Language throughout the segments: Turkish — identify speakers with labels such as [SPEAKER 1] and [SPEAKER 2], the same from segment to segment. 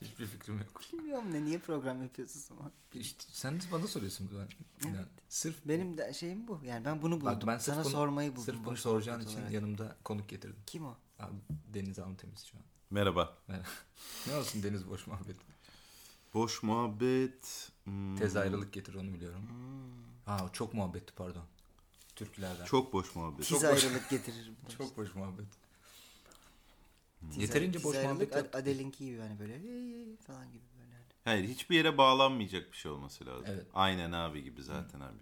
[SPEAKER 1] Hiçbir fikrim yok.
[SPEAKER 2] Bilmiyorum ne niye program yapıyorsunuz ama.
[SPEAKER 1] İşte sen de bana soruyorsun. Ben, yani
[SPEAKER 2] Evet.
[SPEAKER 1] Sırf
[SPEAKER 2] Benim de şeyim bu. Yani ben bunu buldum.
[SPEAKER 1] Bak ben sırf
[SPEAKER 2] Sana
[SPEAKER 1] bunu-
[SPEAKER 2] sormayı buldum.
[SPEAKER 1] Sırf bunu
[SPEAKER 2] boş
[SPEAKER 1] soracağın
[SPEAKER 2] sohbet
[SPEAKER 1] için
[SPEAKER 2] olarak.
[SPEAKER 1] yanımda konuk getirdim.
[SPEAKER 2] Kim o?
[SPEAKER 1] Abi, Deniz Hanım temiz şu an.
[SPEAKER 3] Merhaba.
[SPEAKER 1] Ne olsun Deniz boş muhabbet.
[SPEAKER 2] Hmm.
[SPEAKER 3] Boş muhabbet. hmm,
[SPEAKER 1] Tez ayrılık getir onu biliyorum.
[SPEAKER 2] Hmm.
[SPEAKER 1] Ha çok muhabbetti pardon. Türkülerden. Çok,
[SPEAKER 3] Çok boş muhabbet.
[SPEAKER 2] Tiz
[SPEAKER 1] boş.
[SPEAKER 2] ayrılık getirir. bu da işte.
[SPEAKER 1] boş muhabbet.
[SPEAKER 2] Tiz-
[SPEAKER 1] Yeterince
[SPEAKER 2] tiz
[SPEAKER 1] boş
[SPEAKER 2] ayrılık
[SPEAKER 1] muhabbet
[SPEAKER 2] Ad-
[SPEAKER 1] yap-
[SPEAKER 2] Adele'ninki gibi hani böyle "Ey, ey" falan gibi böyle. hani.
[SPEAKER 3] Hayır hiçbir yere bağlanmayacak bir şey olması lazım.
[SPEAKER 1] Evet.
[SPEAKER 3] Aynen abi gibi zaten abi.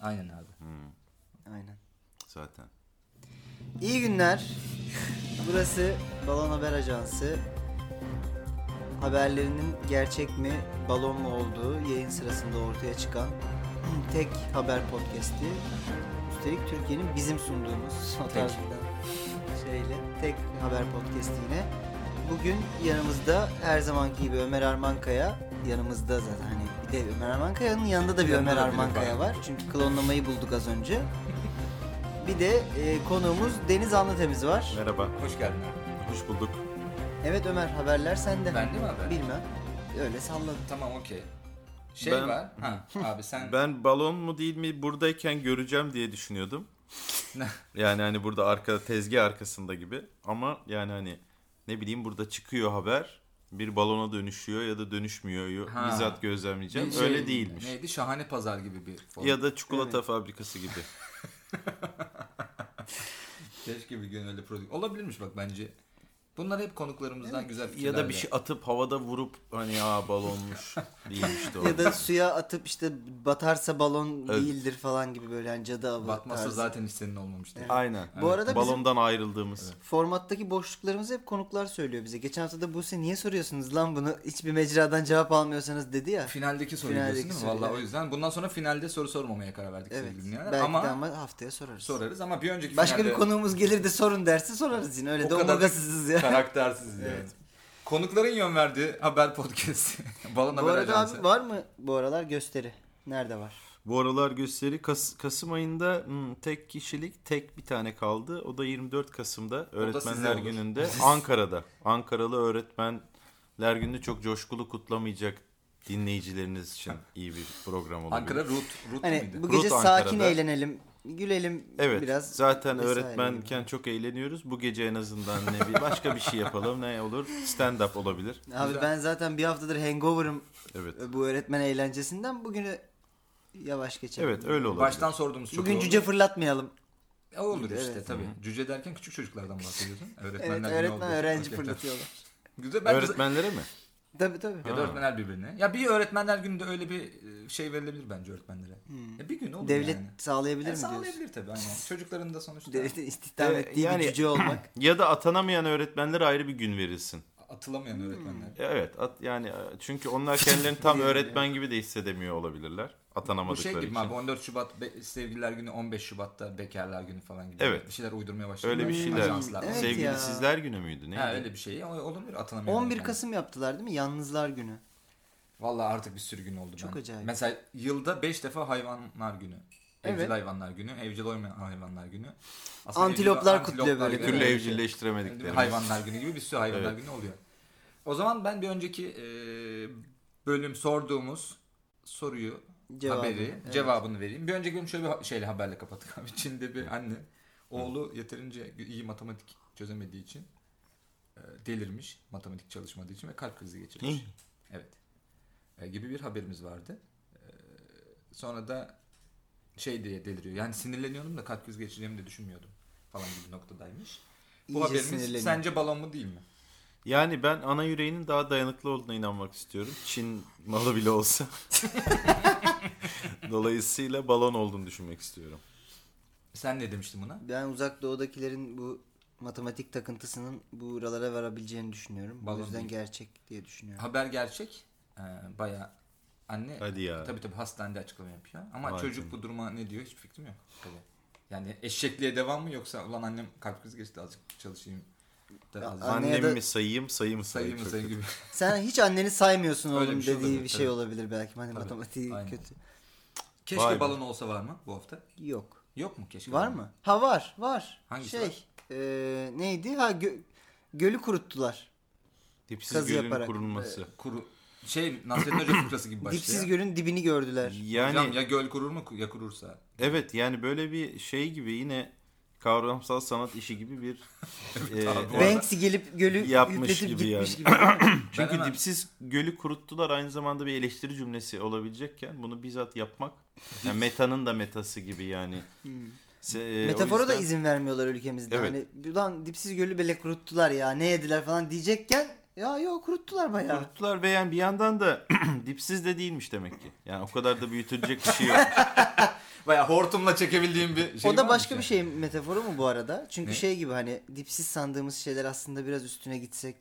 [SPEAKER 1] Aynen abi.
[SPEAKER 2] Hmm. Aynen.
[SPEAKER 3] Zaten.
[SPEAKER 2] İyi günler. Burası Balon Haber Ajansı. Haberlerinin gerçek mi, balon mu olduğu yayın sırasında ortaya çıkan tek haber podcast'i. Üstelik Türkiye'nin bizim sunduğumuz o
[SPEAKER 1] Tek.
[SPEAKER 2] tarzdan şeyle tek haber podcast'i yine. Bugün yanımızda her zamanki gibi Ömer Armankaya yanımızda zaten hani bir de Ömer Armankaya'nın yanında da bir
[SPEAKER 1] Yanında
[SPEAKER 2] Ömer
[SPEAKER 1] da biri
[SPEAKER 2] Armankaya
[SPEAKER 1] var.
[SPEAKER 2] var. Çünkü klonlamayı bulduk az önce. Bir de e, konuğumuz Deniz Anlatemiz var.
[SPEAKER 3] Merhaba.
[SPEAKER 1] Hoş geldin abi.
[SPEAKER 3] Hoş bulduk.
[SPEAKER 2] Evet Ömer haberler sende.
[SPEAKER 1] Bende mi haber?
[SPEAKER 2] Bilmem. Öyle salladım.
[SPEAKER 1] Tamam okey. Şey
[SPEAKER 3] Ben-
[SPEAKER 1] var. Ha abi sen
[SPEAKER 3] Ben balon mu değil mi buradayken göreceğim diye düşünüyordum. yani hani burada arka tezgah arkasında gibi. Ama yani hani ne bileyim burada çıkıyor haber. Bir balona dönüşüyor ya da dönüşmüyor.
[SPEAKER 1] Ha.
[SPEAKER 3] Bizzat gözlemleyeceğim.
[SPEAKER 1] Bir şey-
[SPEAKER 3] Öyle değilmiş.
[SPEAKER 1] Neydi? Şahane pazar gibi bir form.
[SPEAKER 3] Ya da çikolata fabrikası gibi.
[SPEAKER 1] Keşke bir gün öyle prodü- Olabilirmiş bak bence. Bunlar hep konuklarımızdan güzel
[SPEAKER 3] Ya
[SPEAKER 1] fikirler.
[SPEAKER 3] da bir şey atıp havada vurup hani aa balonmuş değilmiş doğru.
[SPEAKER 2] Ya da suya atıp işte batarsa balon
[SPEAKER 3] Evet.
[SPEAKER 2] değildir falan gibi böyle yani cadı avı
[SPEAKER 1] Batması
[SPEAKER 2] tarzı.
[SPEAKER 1] zaten hiç senin olmamıştı.
[SPEAKER 3] Aynen.
[SPEAKER 2] Bu arada bizim-
[SPEAKER 3] balondan ayrıldığımız.
[SPEAKER 2] Formattaki boşluklarımızı hep konuklar söylüyor bize. Geçen hafta da Buse niye soruyorsunuz lan bunu? Hiçbir mecradan cevap almıyorsanız dedi ya.
[SPEAKER 1] Finaldeki soruyu
[SPEAKER 2] Finaldeki
[SPEAKER 1] diyorsun değil mi?
[SPEAKER 2] soru,
[SPEAKER 1] Valla o
[SPEAKER 2] evet.
[SPEAKER 1] yüzden bundan sonra finalde soru sormamaya karar verdik
[SPEAKER 2] Evet.
[SPEAKER 1] sevgili dinleyenler.
[SPEAKER 2] Belki
[SPEAKER 1] ama
[SPEAKER 2] de ama haftaya sorarız.
[SPEAKER 1] sorarız ama bir önceki
[SPEAKER 2] Başka
[SPEAKER 1] finalde
[SPEAKER 2] bir konuğumuz gelir de sorun derse sorarız yine. Öyle
[SPEAKER 1] O
[SPEAKER 2] de
[SPEAKER 1] kadar da
[SPEAKER 2] omurgasızız ya.
[SPEAKER 1] karaktersiz yani. Konukların yön verdiği haber podcast'i. Balon
[SPEAKER 2] Bu
[SPEAKER 1] Haber
[SPEAKER 2] arada
[SPEAKER 1] Ajansı.
[SPEAKER 2] abi var mı bu aralar gösteri? Nerede var?
[SPEAKER 3] Bu aralar gösteri Kas- Kasım ayında hmm, tek kişilik tek bir tane kaldı. O da 24 Kasım'da
[SPEAKER 1] size
[SPEAKER 3] Öğretmenler
[SPEAKER 1] olur.
[SPEAKER 3] Günü'nde Ankara'da. Ankaralı Öğretmenler Günü'nü çok coşkulu kutlamayacak dinleyicileriniz için iyi bir program olabilir.
[SPEAKER 1] Ankara Root, Root
[SPEAKER 2] Hani
[SPEAKER 1] muydu?
[SPEAKER 2] bu gece
[SPEAKER 3] Rut
[SPEAKER 2] sakin
[SPEAKER 3] Ankara'da.
[SPEAKER 2] eğlenelim, gülelim
[SPEAKER 3] Evet.
[SPEAKER 2] biraz.
[SPEAKER 3] zaten
[SPEAKER 2] vesaire
[SPEAKER 3] öğretmenken çok eğleniyoruz. Bu gece en azından ne bir başka bir şey yapalım. Ne olur? Stand up olabilir.
[SPEAKER 2] gibi. Abi
[SPEAKER 1] Güzel.
[SPEAKER 2] ben zaten bir haftadır hangover'ım
[SPEAKER 3] Evet.
[SPEAKER 2] bu öğretmen eğlencesinden. Bugünü yavaş geçelim.
[SPEAKER 3] Evet öyle olabilir.
[SPEAKER 1] Baştan sorduğumuz çok
[SPEAKER 2] Bugün
[SPEAKER 1] oldu.
[SPEAKER 2] cüce fırlatmayalım.
[SPEAKER 1] E, olur işte
[SPEAKER 2] Evet.
[SPEAKER 1] tabii. Cüce derken küçük çocuklardan bahsediyorsun. Öğretmenler
[SPEAKER 2] Evet,
[SPEAKER 1] günü olduğu
[SPEAKER 2] öğretmen
[SPEAKER 1] için.
[SPEAKER 2] öğrenci
[SPEAKER 1] Okey,
[SPEAKER 2] fırlatıyorlar.
[SPEAKER 1] tamam. Güzel. Ben de-
[SPEAKER 3] Öğretmenlere mi?
[SPEAKER 2] Tabii tabii.
[SPEAKER 1] Ya da öğretmenler birbirine. Ya bir öğretmenler gününde öyle bir e, şey verilebilir bence öğretmenlere. Ya bir gün olur
[SPEAKER 2] Devlet
[SPEAKER 1] yani.
[SPEAKER 2] sağlayabilir
[SPEAKER 1] E,
[SPEAKER 2] mi diyorsun?
[SPEAKER 1] sağlayabilir tabii aynen. Çocukların da sonuçta
[SPEAKER 2] Devletin istihdam
[SPEAKER 3] Ee,
[SPEAKER 2] ettiği
[SPEAKER 3] yani-
[SPEAKER 2] bir cüce olmak.
[SPEAKER 3] Ya da atanamayan öğretmenlere ayrı bir gün verilsin.
[SPEAKER 1] atılamayan öğretmenler.
[SPEAKER 3] Evet at, yani e, çünkü onlar kendilerini tam öğretmen gibi de hissedemiyor olabilirler.
[SPEAKER 1] Bu
[SPEAKER 3] Atanamadıkları
[SPEAKER 1] şey gibi
[SPEAKER 3] için.
[SPEAKER 1] abi 14 Şubat be- sevgililer günü 15 Şubat'ta bekarlar günü falan gibi.
[SPEAKER 3] Evet.
[SPEAKER 1] Bir şeyler uydurmaya başladı.
[SPEAKER 3] Öyle bir şeyler.
[SPEAKER 1] Ajanslar.
[SPEAKER 2] Evet
[SPEAKER 3] Sevgili
[SPEAKER 2] ya.
[SPEAKER 3] sizler günü müydü? Neydi?
[SPEAKER 1] Ha, öyle bir şey. O- Olabilir atanamayan
[SPEAKER 2] 11
[SPEAKER 1] öğretmenler.
[SPEAKER 2] Kasım yaptılar değil mi? Yalnızlar günü.
[SPEAKER 1] Valla artık bir sürü gün oldu.
[SPEAKER 2] Çok
[SPEAKER 1] ben.
[SPEAKER 2] acayip.
[SPEAKER 1] Mesela yılda 5 defa hayvanlar günü. Evcil
[SPEAKER 2] Evet.
[SPEAKER 1] hayvanlar günü, evcil olmayan hayvanlar günü.
[SPEAKER 2] Antiloplar
[SPEAKER 1] evcil-
[SPEAKER 2] kutluyor böyle.
[SPEAKER 1] günü.
[SPEAKER 3] Bir türlü
[SPEAKER 2] Evet.
[SPEAKER 1] Değil mi?
[SPEAKER 3] evcilleştiremedikleri.
[SPEAKER 1] Hayvanlar günü gibi bir sürü hayvanlar
[SPEAKER 3] Evet.
[SPEAKER 1] günü oluyor. O zaman ben bir önceki e, bölüm sorduğumuz soruyu,
[SPEAKER 2] Cevabı,
[SPEAKER 1] haberi,
[SPEAKER 2] evet.
[SPEAKER 1] cevabını vereyim. Bir önceki bölüm şöyle bir ha- şeyle haberle kapattık abi. Çin'de bir anne oğlu yeterince iyi matematik çözemediği için e, delirmiş matematik çalışmadığı için ve kalp krizi geçirmiş.
[SPEAKER 3] Hı.
[SPEAKER 1] evet. E, gibi bir haberimiz vardı. E, sonra da şey diye deliriyor. Yani sinirleniyordum da kalp krizi geçireceğimi de düşünmüyordum falan gibi noktadaymış. Bu
[SPEAKER 2] İyice
[SPEAKER 1] haberimiz
[SPEAKER 2] sinirleniyor.
[SPEAKER 1] sence balon mu değil mi?
[SPEAKER 3] Yani ben ana yüreğinin daha dayanıklı olduğuna inanmak istiyorum. Çin malı bile olsa. Dolayısıyla balon olduğunu düşünmek istiyorum.
[SPEAKER 1] Sen ne demiştin buna?
[SPEAKER 2] Ben uzak doğudakilerin bu matematik takıntısının buralara varabileceğini düşünüyorum.
[SPEAKER 1] Balon
[SPEAKER 2] bu yüzden
[SPEAKER 1] değil.
[SPEAKER 2] gerçek diye düşünüyorum.
[SPEAKER 1] Haber gerçek. Ee, Baya anne
[SPEAKER 3] Hadi ya.
[SPEAKER 1] tabii tabii hastanede açıklama yapıyor. Ama
[SPEAKER 3] Vay
[SPEAKER 1] çocuk
[SPEAKER 3] canına.
[SPEAKER 1] bu duruma ne diyor hiç fikrim yok. Tabii. Yani eşekliğe devam mı yoksa ulan annem kalp krizi geçti azıcık çalışayım da
[SPEAKER 2] Ya,
[SPEAKER 1] azıcık
[SPEAKER 2] Anne ya
[SPEAKER 3] Annemi
[SPEAKER 2] da-
[SPEAKER 3] mi sayayım, sayayım
[SPEAKER 1] sayayım mı
[SPEAKER 3] Çok
[SPEAKER 1] sayayım
[SPEAKER 3] kötü.
[SPEAKER 1] gibi.
[SPEAKER 2] Sen hiç anneni saymıyorsun
[SPEAKER 1] Öyle
[SPEAKER 2] oğlum
[SPEAKER 1] bir şey
[SPEAKER 2] dediği
[SPEAKER 1] olabilir,
[SPEAKER 2] bir şey
[SPEAKER 1] tabii.
[SPEAKER 2] olabilir belki. Hani
[SPEAKER 1] Tabii,
[SPEAKER 2] matematiği
[SPEAKER 1] aynen.
[SPEAKER 2] kötü.
[SPEAKER 1] Keşke
[SPEAKER 3] Vay be.
[SPEAKER 1] balon olsa var mı bu hafta?
[SPEAKER 2] Yok.
[SPEAKER 1] Yok mu keşke?
[SPEAKER 2] Var
[SPEAKER 1] balon?
[SPEAKER 2] mı? Ha var, var.
[SPEAKER 1] Hangisi
[SPEAKER 2] şey,
[SPEAKER 1] var?
[SPEAKER 2] e, neydi? Ha gö- gölü kuruttular.
[SPEAKER 3] Dipsiz
[SPEAKER 2] Kazı
[SPEAKER 3] gölün
[SPEAKER 2] yaparak.
[SPEAKER 3] kurulması.
[SPEAKER 1] Kuru şey Nasrettin Hoca fıkrası gibi başlıyor.
[SPEAKER 2] Dipsiz gölün dibini
[SPEAKER 1] e, Hmm.
[SPEAKER 2] gördüler.
[SPEAKER 3] Yani
[SPEAKER 1] Hocam ya göl kurur mu ya kurursa.
[SPEAKER 3] evet yani böyle bir şey gibi yine kavramsal sanat işi gibi bir e,
[SPEAKER 1] abi, bu arada-
[SPEAKER 2] Banksy gelip gölü
[SPEAKER 3] Yapmış
[SPEAKER 2] yükletip
[SPEAKER 3] gibi
[SPEAKER 2] gitmiş
[SPEAKER 3] yani.
[SPEAKER 2] gibi.
[SPEAKER 3] Çünkü
[SPEAKER 1] hemen-
[SPEAKER 3] dipsiz gölü kuruttular aynı zamanda bir eleştiri cümlesi olabilecekken bunu bizzat yapmak yani metanın da metası gibi yani. Se- e, o
[SPEAKER 2] Metafora da
[SPEAKER 3] yüzden-
[SPEAKER 2] izin vermiyorlar ülkemizde.
[SPEAKER 3] Evet.
[SPEAKER 2] Hani ulan dipsiz gölü bile kuruttular ya ne yediler falan diyecekken ya yok kuruttular bayağı.
[SPEAKER 3] Kuruttular ve yani bir yandan da dipsiz de değilmiş demek ki. Yani o kadar da büyütülecek bir şey yok.
[SPEAKER 1] Baya hortumla çekebildiğim bir şey
[SPEAKER 2] o da
[SPEAKER 1] varmış
[SPEAKER 2] başka
[SPEAKER 1] yani.
[SPEAKER 2] bir şey metaforu mu bu arada? Çünkü
[SPEAKER 1] Ne?
[SPEAKER 2] şey gibi hani dipsiz sandığımız şeyler aslında biraz üstüne gitsek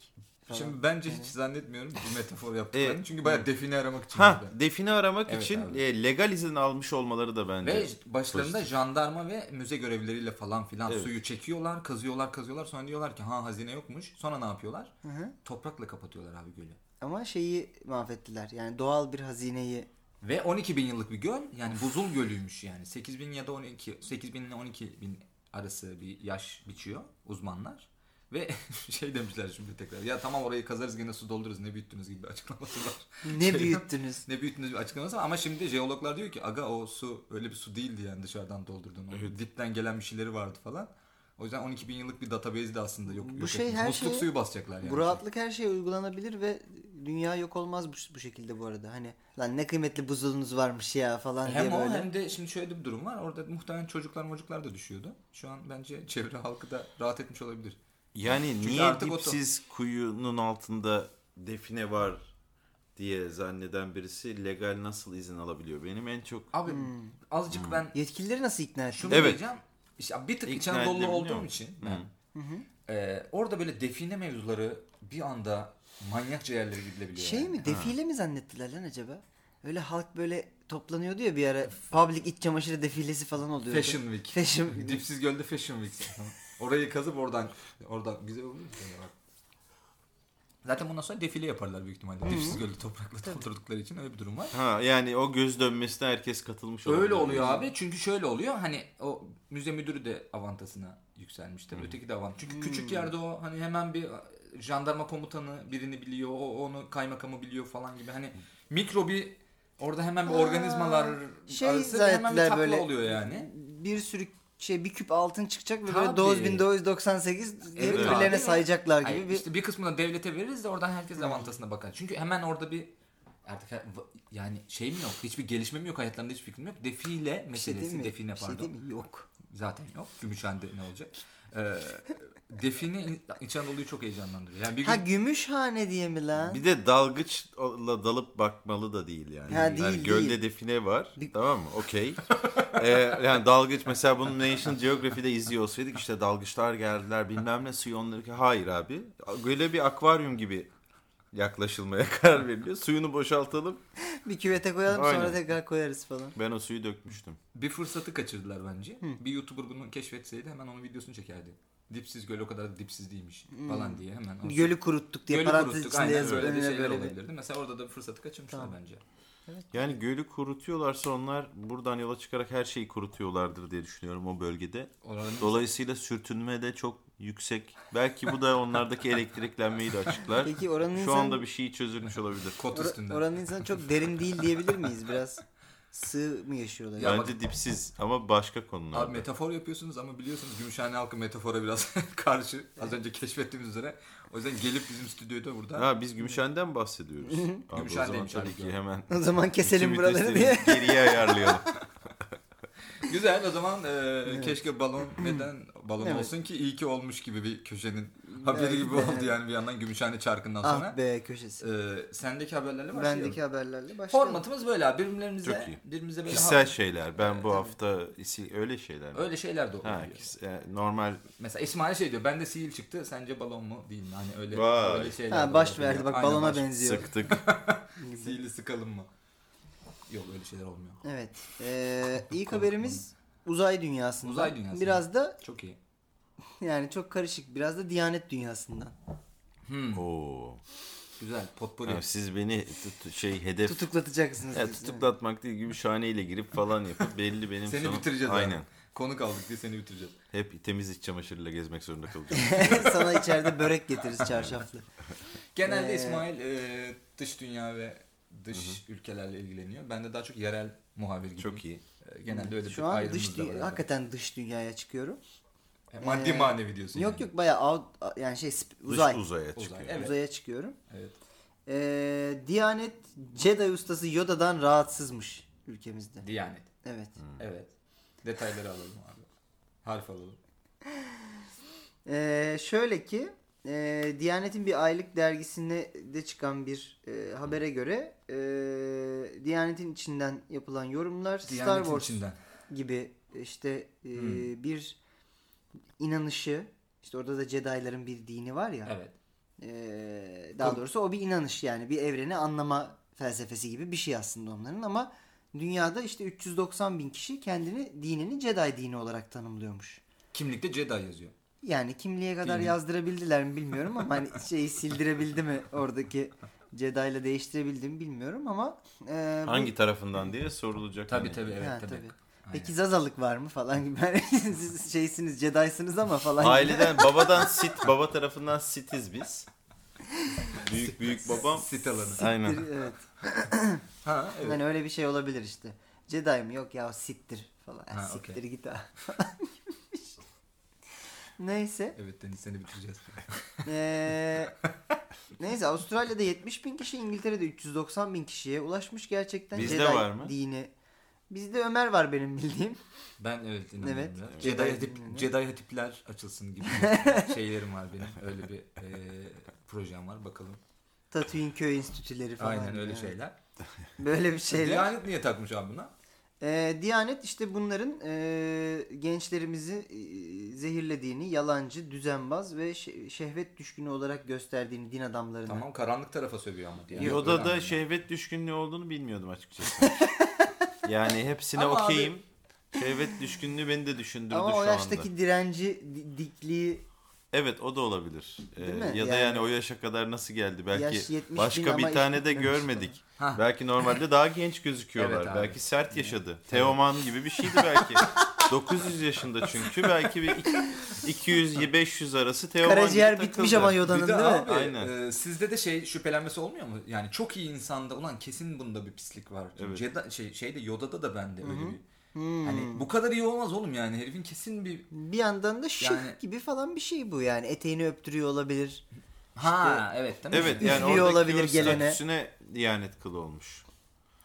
[SPEAKER 2] falan.
[SPEAKER 1] Şimdi bence hiç zannetmiyorum bu metafor yaptıklarını.
[SPEAKER 3] Evet.
[SPEAKER 1] Çünkü bayağı define aramak için.
[SPEAKER 3] E, ha,
[SPEAKER 1] bir de.
[SPEAKER 3] define aramak
[SPEAKER 1] Evet
[SPEAKER 3] için
[SPEAKER 1] abi.
[SPEAKER 3] e, legal izin almış olmaları da bence.
[SPEAKER 1] Ve başlarında jandarma ve müze görevlileriyle falan filan
[SPEAKER 3] Evet.
[SPEAKER 1] suyu çekiyorlar, kazıyorlar, kazıyorlar. Sonra diyorlar ki ha hazine yokmuş. Sonra ne yapıyorlar?
[SPEAKER 2] hı.
[SPEAKER 1] Toprakla kapatıyorlar abi gölü.
[SPEAKER 2] Ama şeyi mahvettiler. Yani doğal bir hazineyi.
[SPEAKER 1] Ve 12 bin yıllık bir göl. Yani buzul gölüymüş yani. 8 bin ya da 12, 8 bin ile 12 bin arası bir yaş biçiyor uzmanlar. Ve şey demişler şimdi tekrar. Ya tamam orayı kazarız gene su doldururuz ne büyüttünüz gibi bir açıklaması var.
[SPEAKER 2] Ne büyüttünüz.
[SPEAKER 1] ne büyüttünüz bir açıklaması var. ama şimdi jeologlar diyor ki aga o su öyle bir su değildi yani dışarıdan doldurduğun. O Dipten gelen bir şeyleri vardı falan. O yüzden 12 bin yıllık bir database de aslında yok.
[SPEAKER 2] Bu
[SPEAKER 1] yok
[SPEAKER 2] şey
[SPEAKER 1] etmiş.
[SPEAKER 2] her
[SPEAKER 1] Musluk
[SPEAKER 2] şeye-
[SPEAKER 1] suyu basacaklar yani.
[SPEAKER 2] Bu rahatlık her şeye uygulanabilir ve dünya yok olmaz bu, bu şekilde bu arada. Hani lan ne kıymetli buzulunuz varmış ya falan
[SPEAKER 1] Hem
[SPEAKER 2] diye
[SPEAKER 1] o
[SPEAKER 2] böyle.
[SPEAKER 1] hem de şimdi şöyle bir durum var. Orada muhtemelen çocuklar mocuklar da düşüyordu. Şu an bence çevre halkı da rahat etmiş olabilir.
[SPEAKER 3] Yani
[SPEAKER 1] Çünkü
[SPEAKER 3] niye
[SPEAKER 1] artık o to-
[SPEAKER 3] dipsiz kuyunun altında define var diye zanneden birisi legal nasıl izin alabiliyor? Benim en çok
[SPEAKER 1] Abi
[SPEAKER 2] Hmm.
[SPEAKER 1] azıcık ben
[SPEAKER 2] Yetkilileri nasıl ikna ettin?
[SPEAKER 1] şunu
[SPEAKER 3] Evet.
[SPEAKER 1] diyeceğim. İşte bir tık
[SPEAKER 3] İkna
[SPEAKER 1] İç Anadolu
[SPEAKER 3] edilebiliyor
[SPEAKER 1] olduğum
[SPEAKER 3] mu?
[SPEAKER 1] için ben, e, orada böyle define mevzuları bir anda manyakça yerlere gidilebiliyor.
[SPEAKER 2] Şey
[SPEAKER 1] yani.
[SPEAKER 2] mi defile mi zannettiler lan acaba? Öyle halk böyle toplanıyordu ya bir ara public iç çamaşırı defilesi falan oluyordu.
[SPEAKER 1] Fashion Week.
[SPEAKER 2] Fashion
[SPEAKER 1] Dipsiz Göl'de Fashion Week. Orayı kazıp oradan oradan güzel olur mu? Yani bak. Zaten bundan sonra defile yaparlar büyük ihtimalle. Dipsiz Göl'ü toprakla doldurdukları için öyle bir durum var.
[SPEAKER 3] ha yani o göz dönmesine herkes katılmış
[SPEAKER 1] Öyle
[SPEAKER 3] olabilir.
[SPEAKER 1] oluyor abi. Çünkü şöyle oluyor. Hani o müze müdürü de avantasına yükselmiş tabii. Öteki de avant. Çünkü küçük yerde o hani hemen bir jandarma komutanı birini biliyor. O onu kaymakamı biliyor falan gibi. Hani mikro bir orada hemen bir organizmalar
[SPEAKER 2] şey
[SPEAKER 1] arası bir hemen bir
[SPEAKER 2] zannettiler
[SPEAKER 1] takla
[SPEAKER 2] böyle-
[SPEAKER 1] oluyor yani.
[SPEAKER 2] bir sürü şey bir küp altın çıkacak ve
[SPEAKER 1] Tabii.
[SPEAKER 2] böyle 9998 diye
[SPEAKER 1] Evet abi.
[SPEAKER 2] birbirlerine sayacaklar gibi
[SPEAKER 1] Ay,
[SPEAKER 2] bir
[SPEAKER 1] işte bir kısmını devlete veririz de oradan herkes avantasına bakar. Çünkü hemen orada bir artık he- va- yani şeyim yok. Hiçbir gelişmem yok. Hayatlarımda hiçbir fikrim yok. Defile
[SPEAKER 2] bir şey
[SPEAKER 1] meselesi.
[SPEAKER 2] değil mi?
[SPEAKER 1] define
[SPEAKER 2] bir şey
[SPEAKER 1] pardon.
[SPEAKER 2] değil mi? Yok.
[SPEAKER 1] Zaten yok. Gümüşhane ne olacak? Ee, define İç Anadolu'yu çok heyecanlandırıyor. Yani bir
[SPEAKER 2] Ha
[SPEAKER 1] gün
[SPEAKER 2] Gümüşhane diye mi lan?
[SPEAKER 3] Bir de dalgıçla dalıp bakmalı da değil yani.
[SPEAKER 2] Ha,
[SPEAKER 3] Yani
[SPEAKER 2] değil,
[SPEAKER 3] gölde
[SPEAKER 2] değil.
[SPEAKER 3] define var. Tamam mı? Okey. Ee, yani dalgıç mesela bunu National Geography'de izliyor olsaydık işte dalgıçlar geldiler bilmem ne suyu onları... Hayır abi. Göle bir akvaryum gibi yaklaşılmaya karar veriliyor. Suyunu boşaltalım.
[SPEAKER 2] Bir küvete koyalım
[SPEAKER 3] Aynen.
[SPEAKER 2] sonra tekrar koyarız falan.
[SPEAKER 3] Ben o suyu dökmüştüm.
[SPEAKER 1] bir fırsatı kaçırdılar bence. Bir YouTuber bunu keşfetseydi hemen onun videosunu çekerdi. Dipsiz göl o kadar da dipsiz değilmiş falan diye hemen. o-
[SPEAKER 2] Gölü kuruttuk diye
[SPEAKER 1] Gölü
[SPEAKER 2] parantez
[SPEAKER 1] kuruttuk.
[SPEAKER 2] içinde
[SPEAKER 1] Aynen
[SPEAKER 2] yazıp
[SPEAKER 1] öyle de
[SPEAKER 2] önüne
[SPEAKER 1] şeyler
[SPEAKER 2] böyle bir...
[SPEAKER 1] olabilirdi. Mesela orada da bir fırsatı kaçırmışlar bence.
[SPEAKER 3] Yani gölü kurutuyorlarsa onlar buradan yola çıkarak her şeyi kurutuyorlardır diye düşünüyorum o bölgede.
[SPEAKER 1] Oranın
[SPEAKER 3] Dolayısıyla sürtünme de çok yüksek. Belki bu da onlardaki elektriklenmeyi de açıklar.
[SPEAKER 2] Peki oranın
[SPEAKER 3] Şu
[SPEAKER 2] insan-
[SPEAKER 3] anda bir şey çözülmüş olabilir.
[SPEAKER 1] kot
[SPEAKER 2] Ora-
[SPEAKER 1] üstünden.
[SPEAKER 2] oranın insanı çok derin değil diyebilir miyiz biraz? Sığ mı yaşıyorlar?
[SPEAKER 1] Ya
[SPEAKER 3] Bence dipsiz ama başka
[SPEAKER 1] Abi
[SPEAKER 3] konularda.
[SPEAKER 1] metafor yapıyorsunuz ama biliyorsunuz Gümüşhane halkı metafora biraz karşı. Az önce keşfettiğimiz üzere. O yüzden gelip bizim stüdyoda burada.
[SPEAKER 3] Ha biz Gümüşhane'den bahsediyoruz. Abi, o zaman
[SPEAKER 1] Gümüşhane'deymiş
[SPEAKER 3] tabii
[SPEAKER 1] abi.
[SPEAKER 3] ki hemen
[SPEAKER 2] O zaman keselim
[SPEAKER 3] bütün
[SPEAKER 2] buraları
[SPEAKER 3] vitesleri
[SPEAKER 2] diye.
[SPEAKER 3] Geriye ayarlayalım.
[SPEAKER 1] Güzel o zaman e, keşke balon neden balon
[SPEAKER 2] Evet.
[SPEAKER 1] olsun ki iyi ki olmuş gibi bir köşenin haberi
[SPEAKER 2] Belki
[SPEAKER 1] gibi
[SPEAKER 2] de.
[SPEAKER 1] oldu yani bir yandan Gümüşhane çarkından sonra.
[SPEAKER 2] Ah be köşesi.
[SPEAKER 1] E, sendeki haberlerle başlayalım.
[SPEAKER 2] Bendeki haberlerle başlayalım.
[SPEAKER 1] Formatımız böyle abi birbirimize
[SPEAKER 3] Çok iyi.
[SPEAKER 1] birbirimize böyle
[SPEAKER 3] Kişisel
[SPEAKER 1] ha-
[SPEAKER 3] şeyler. Ben bu hafta isi- öyle şeyler.
[SPEAKER 2] şey.
[SPEAKER 3] mi?
[SPEAKER 1] öyle şeyler de oluyor.
[SPEAKER 3] Ha, kişi- e, normal
[SPEAKER 1] Mesela İsmail şey diyor bende sihir çıktı sence balon mu değil mi? Hani öyle,
[SPEAKER 3] Vay.
[SPEAKER 1] öyle şeyler. de
[SPEAKER 2] Ha baş
[SPEAKER 1] olabiliyor.
[SPEAKER 2] verdi bak
[SPEAKER 1] Aynen,
[SPEAKER 2] balona
[SPEAKER 1] baş-
[SPEAKER 2] benziyor.
[SPEAKER 3] sıktık.
[SPEAKER 1] Sihirli sıkalım mı? Yok öyle şeyler olmuyor.
[SPEAKER 2] Evet. Ee, ilk haberimiz uzay dünyasından.
[SPEAKER 1] Uzay dünyasından.
[SPEAKER 2] Biraz da
[SPEAKER 1] Çok iyi.
[SPEAKER 2] yani çok karışık. Biraz da diyanet dünyasından.
[SPEAKER 1] Hmm.
[SPEAKER 3] Oo.
[SPEAKER 1] Güzel. Potpourri.
[SPEAKER 3] Ya siz beni tut- şey hedef
[SPEAKER 2] Tutuklatacaksınız.
[SPEAKER 3] Ya
[SPEAKER 2] diyorsun,
[SPEAKER 3] tutuklatmak değil Gümüşhane ile girip falan yapıp belli benim
[SPEAKER 1] Seni
[SPEAKER 3] sonum-
[SPEAKER 1] bitireceğiz abi.
[SPEAKER 3] Aynen.
[SPEAKER 1] Konuk aldık diye seni bitireceğiz.
[SPEAKER 3] Hep temiz iç çamaşırıyla gezmek zorunda kalacağım.
[SPEAKER 2] evet. Sana içeride börek getiririz çarşaflı.
[SPEAKER 1] Genelde
[SPEAKER 2] Ee,
[SPEAKER 1] İsmail e, dış dünya ve dış ülkelerle ilgileniyor. Ben de daha çok yerel muhabir gibi.
[SPEAKER 3] Çok iyi.
[SPEAKER 1] E, Genelde öyle bir
[SPEAKER 2] Şu an
[SPEAKER 1] ayrımımız
[SPEAKER 2] dış
[SPEAKER 1] da var.
[SPEAKER 2] dü-
[SPEAKER 1] arada.
[SPEAKER 2] hakikaten dış dünyaya çıkıyorum.
[SPEAKER 1] E, Maddi
[SPEAKER 2] Ee,
[SPEAKER 1] manevi diyorsun.
[SPEAKER 2] Yok
[SPEAKER 1] yani.
[SPEAKER 2] yok bayağı out- yani şey sp-
[SPEAKER 3] Dış
[SPEAKER 2] uzay.
[SPEAKER 3] uzaya çıkıyor.
[SPEAKER 1] evet.
[SPEAKER 2] Uzaya çıkıyorum.
[SPEAKER 1] Evet.
[SPEAKER 2] Ee, Diyanet Jedi ustası Yoda'dan rahatsızmış ülkemizde.
[SPEAKER 1] Diyanet.
[SPEAKER 2] Evet.
[SPEAKER 1] Evet. Detayları alalım abi. Harf alalım.
[SPEAKER 2] Ee, şöyle ki e, Diyanet'in bir aylık dergisinde de çıkan bir e, habere göre e, Diyanet'in içinden yapılan yorumlar Star
[SPEAKER 1] Diyanetin
[SPEAKER 2] Wars
[SPEAKER 1] içinden.
[SPEAKER 2] gibi işte e, bir inanışı işte orada da Jedi'ların bir dini var ya.
[SPEAKER 1] Evet.
[SPEAKER 2] Ee, daha doğrusu o bir inanış yani bir evreni anlama felsefesi gibi bir şey aslında onların ama dünyada işte 390 bin kişi kendini dinini Jedi dini olarak tanımlıyormuş.
[SPEAKER 1] Kimlikte Jedi yazıyor.
[SPEAKER 2] Yani kimliğe kadar
[SPEAKER 1] Bilmiyorum.
[SPEAKER 2] yazdırabildiler mi bilmiyorum ama hani şeyi sildirebildi mi oradaki Jedi ile değiştirebildi mi bilmiyorum ama e, bu-
[SPEAKER 3] Hangi tarafından diye sorulacak.
[SPEAKER 1] Tabii
[SPEAKER 3] hani.
[SPEAKER 1] tabii evet
[SPEAKER 2] Ha,
[SPEAKER 1] tabii.
[SPEAKER 2] tabii.
[SPEAKER 1] Aynen.
[SPEAKER 2] Peki zazalık var mı falan gibi. Hani Siz şeysiniz Jedi'sınız ama falan. gibi.
[SPEAKER 3] Aileden babadan sit, baba tarafından sitiz biz. Büyük büyük babam.
[SPEAKER 1] Sit alanı.
[SPEAKER 3] Aynen.
[SPEAKER 2] Evet.
[SPEAKER 1] Ha evet.
[SPEAKER 2] Yani öyle bir şey olabilir işte. Jedi mi? Yok ya siktir falan.
[SPEAKER 1] Ha,
[SPEAKER 2] siktir
[SPEAKER 1] okey.
[SPEAKER 2] git ha. Neyse.
[SPEAKER 1] Evet Deniz seni bitireceğiz.
[SPEAKER 2] Ee, neyse Avustralya'da 70 bin kişi İngiltere'de 390 bin kişiye ulaşmış gerçekten
[SPEAKER 3] Bizde
[SPEAKER 2] Jedi
[SPEAKER 3] var mı?
[SPEAKER 2] dini. Bizde Ömer var benim bildiğim.
[SPEAKER 1] Ben evet inanıyorum
[SPEAKER 2] Evet.
[SPEAKER 1] biraz.
[SPEAKER 2] Jedi
[SPEAKER 1] Jedi, hatip,
[SPEAKER 2] dinini.
[SPEAKER 1] Jedi hatipler açılsın gibi şeylerim var benim. Öyle bir e, projem var bakalım.
[SPEAKER 2] Tatooine köy enstitüleri falan.
[SPEAKER 1] Aynen öyle
[SPEAKER 2] Evet.
[SPEAKER 1] şeyler.
[SPEAKER 2] Böyle bir şeyler.
[SPEAKER 1] Diyanet niye takmış abi buna?
[SPEAKER 2] Ee, Diyanet işte bunların e, gençlerimizi e, zehirlediğini, yalancı, düzenbaz ve şe- şehvet düşkünü olarak gösterdiğini din adamlarına.
[SPEAKER 1] Tamam karanlık tarafa sövüyor ama Diyanet. Öyle
[SPEAKER 3] Yoda da şey
[SPEAKER 1] anladım.
[SPEAKER 3] şehvet düşkünlüğü olduğunu bilmiyordum açıkçası. yani hepsine
[SPEAKER 1] Ama abi-
[SPEAKER 3] okeyim. Şehvet düşkünlüğü beni de düşündürdü
[SPEAKER 2] Ama
[SPEAKER 3] şu
[SPEAKER 2] o yaştaki
[SPEAKER 3] anda.
[SPEAKER 2] direnci, di- dikliği
[SPEAKER 3] Evet o da olabilir. Ee,
[SPEAKER 2] Değil mi?
[SPEAKER 3] ya da yani,
[SPEAKER 2] Yani-
[SPEAKER 3] o yaşa kadar nasıl geldi
[SPEAKER 2] Yaş
[SPEAKER 3] belki
[SPEAKER 2] 70 bin
[SPEAKER 3] başka
[SPEAKER 2] ama
[SPEAKER 3] bir
[SPEAKER 2] hiç
[SPEAKER 3] tane de
[SPEAKER 2] gitmemiş
[SPEAKER 3] görmedik.
[SPEAKER 1] Ha.
[SPEAKER 3] Belki normalde daha genç gözüküyorlar.
[SPEAKER 1] Evet abi.
[SPEAKER 3] belki sert yaşadı. Teoman gibi bir şeydi belki. 900 yaşında çünkü belki bir iki- 200 500 arası Teoman gibi
[SPEAKER 2] karaciğer bitmiş
[SPEAKER 3] takıldı.
[SPEAKER 2] ama Yoda'nın
[SPEAKER 1] Bir de
[SPEAKER 2] değil mi?
[SPEAKER 1] abi
[SPEAKER 3] Aynen.
[SPEAKER 1] e, sizde de şey şüphelenmesi olmuyor mu? Yani çok iyi insanda ulan kesin bunda bir pislik var.
[SPEAKER 3] Evet.
[SPEAKER 1] Jedi, şey, şeyde Yoda'da da bende öyle bir.
[SPEAKER 2] Hmm.
[SPEAKER 1] Hani bu kadar iyi olmaz oğlum yani herifin kesin bir
[SPEAKER 2] Bir yandan da şık
[SPEAKER 1] Yani-
[SPEAKER 2] gibi falan bir şey bu yani. Eteğini öptürüyor olabilir.
[SPEAKER 1] Ha evet tamam.
[SPEAKER 3] Evet yani
[SPEAKER 2] Üzülüyor
[SPEAKER 3] oradaki
[SPEAKER 2] olabilir
[SPEAKER 3] olabilir
[SPEAKER 2] gelene.
[SPEAKER 3] statüsüne diyanet kılı olmuş.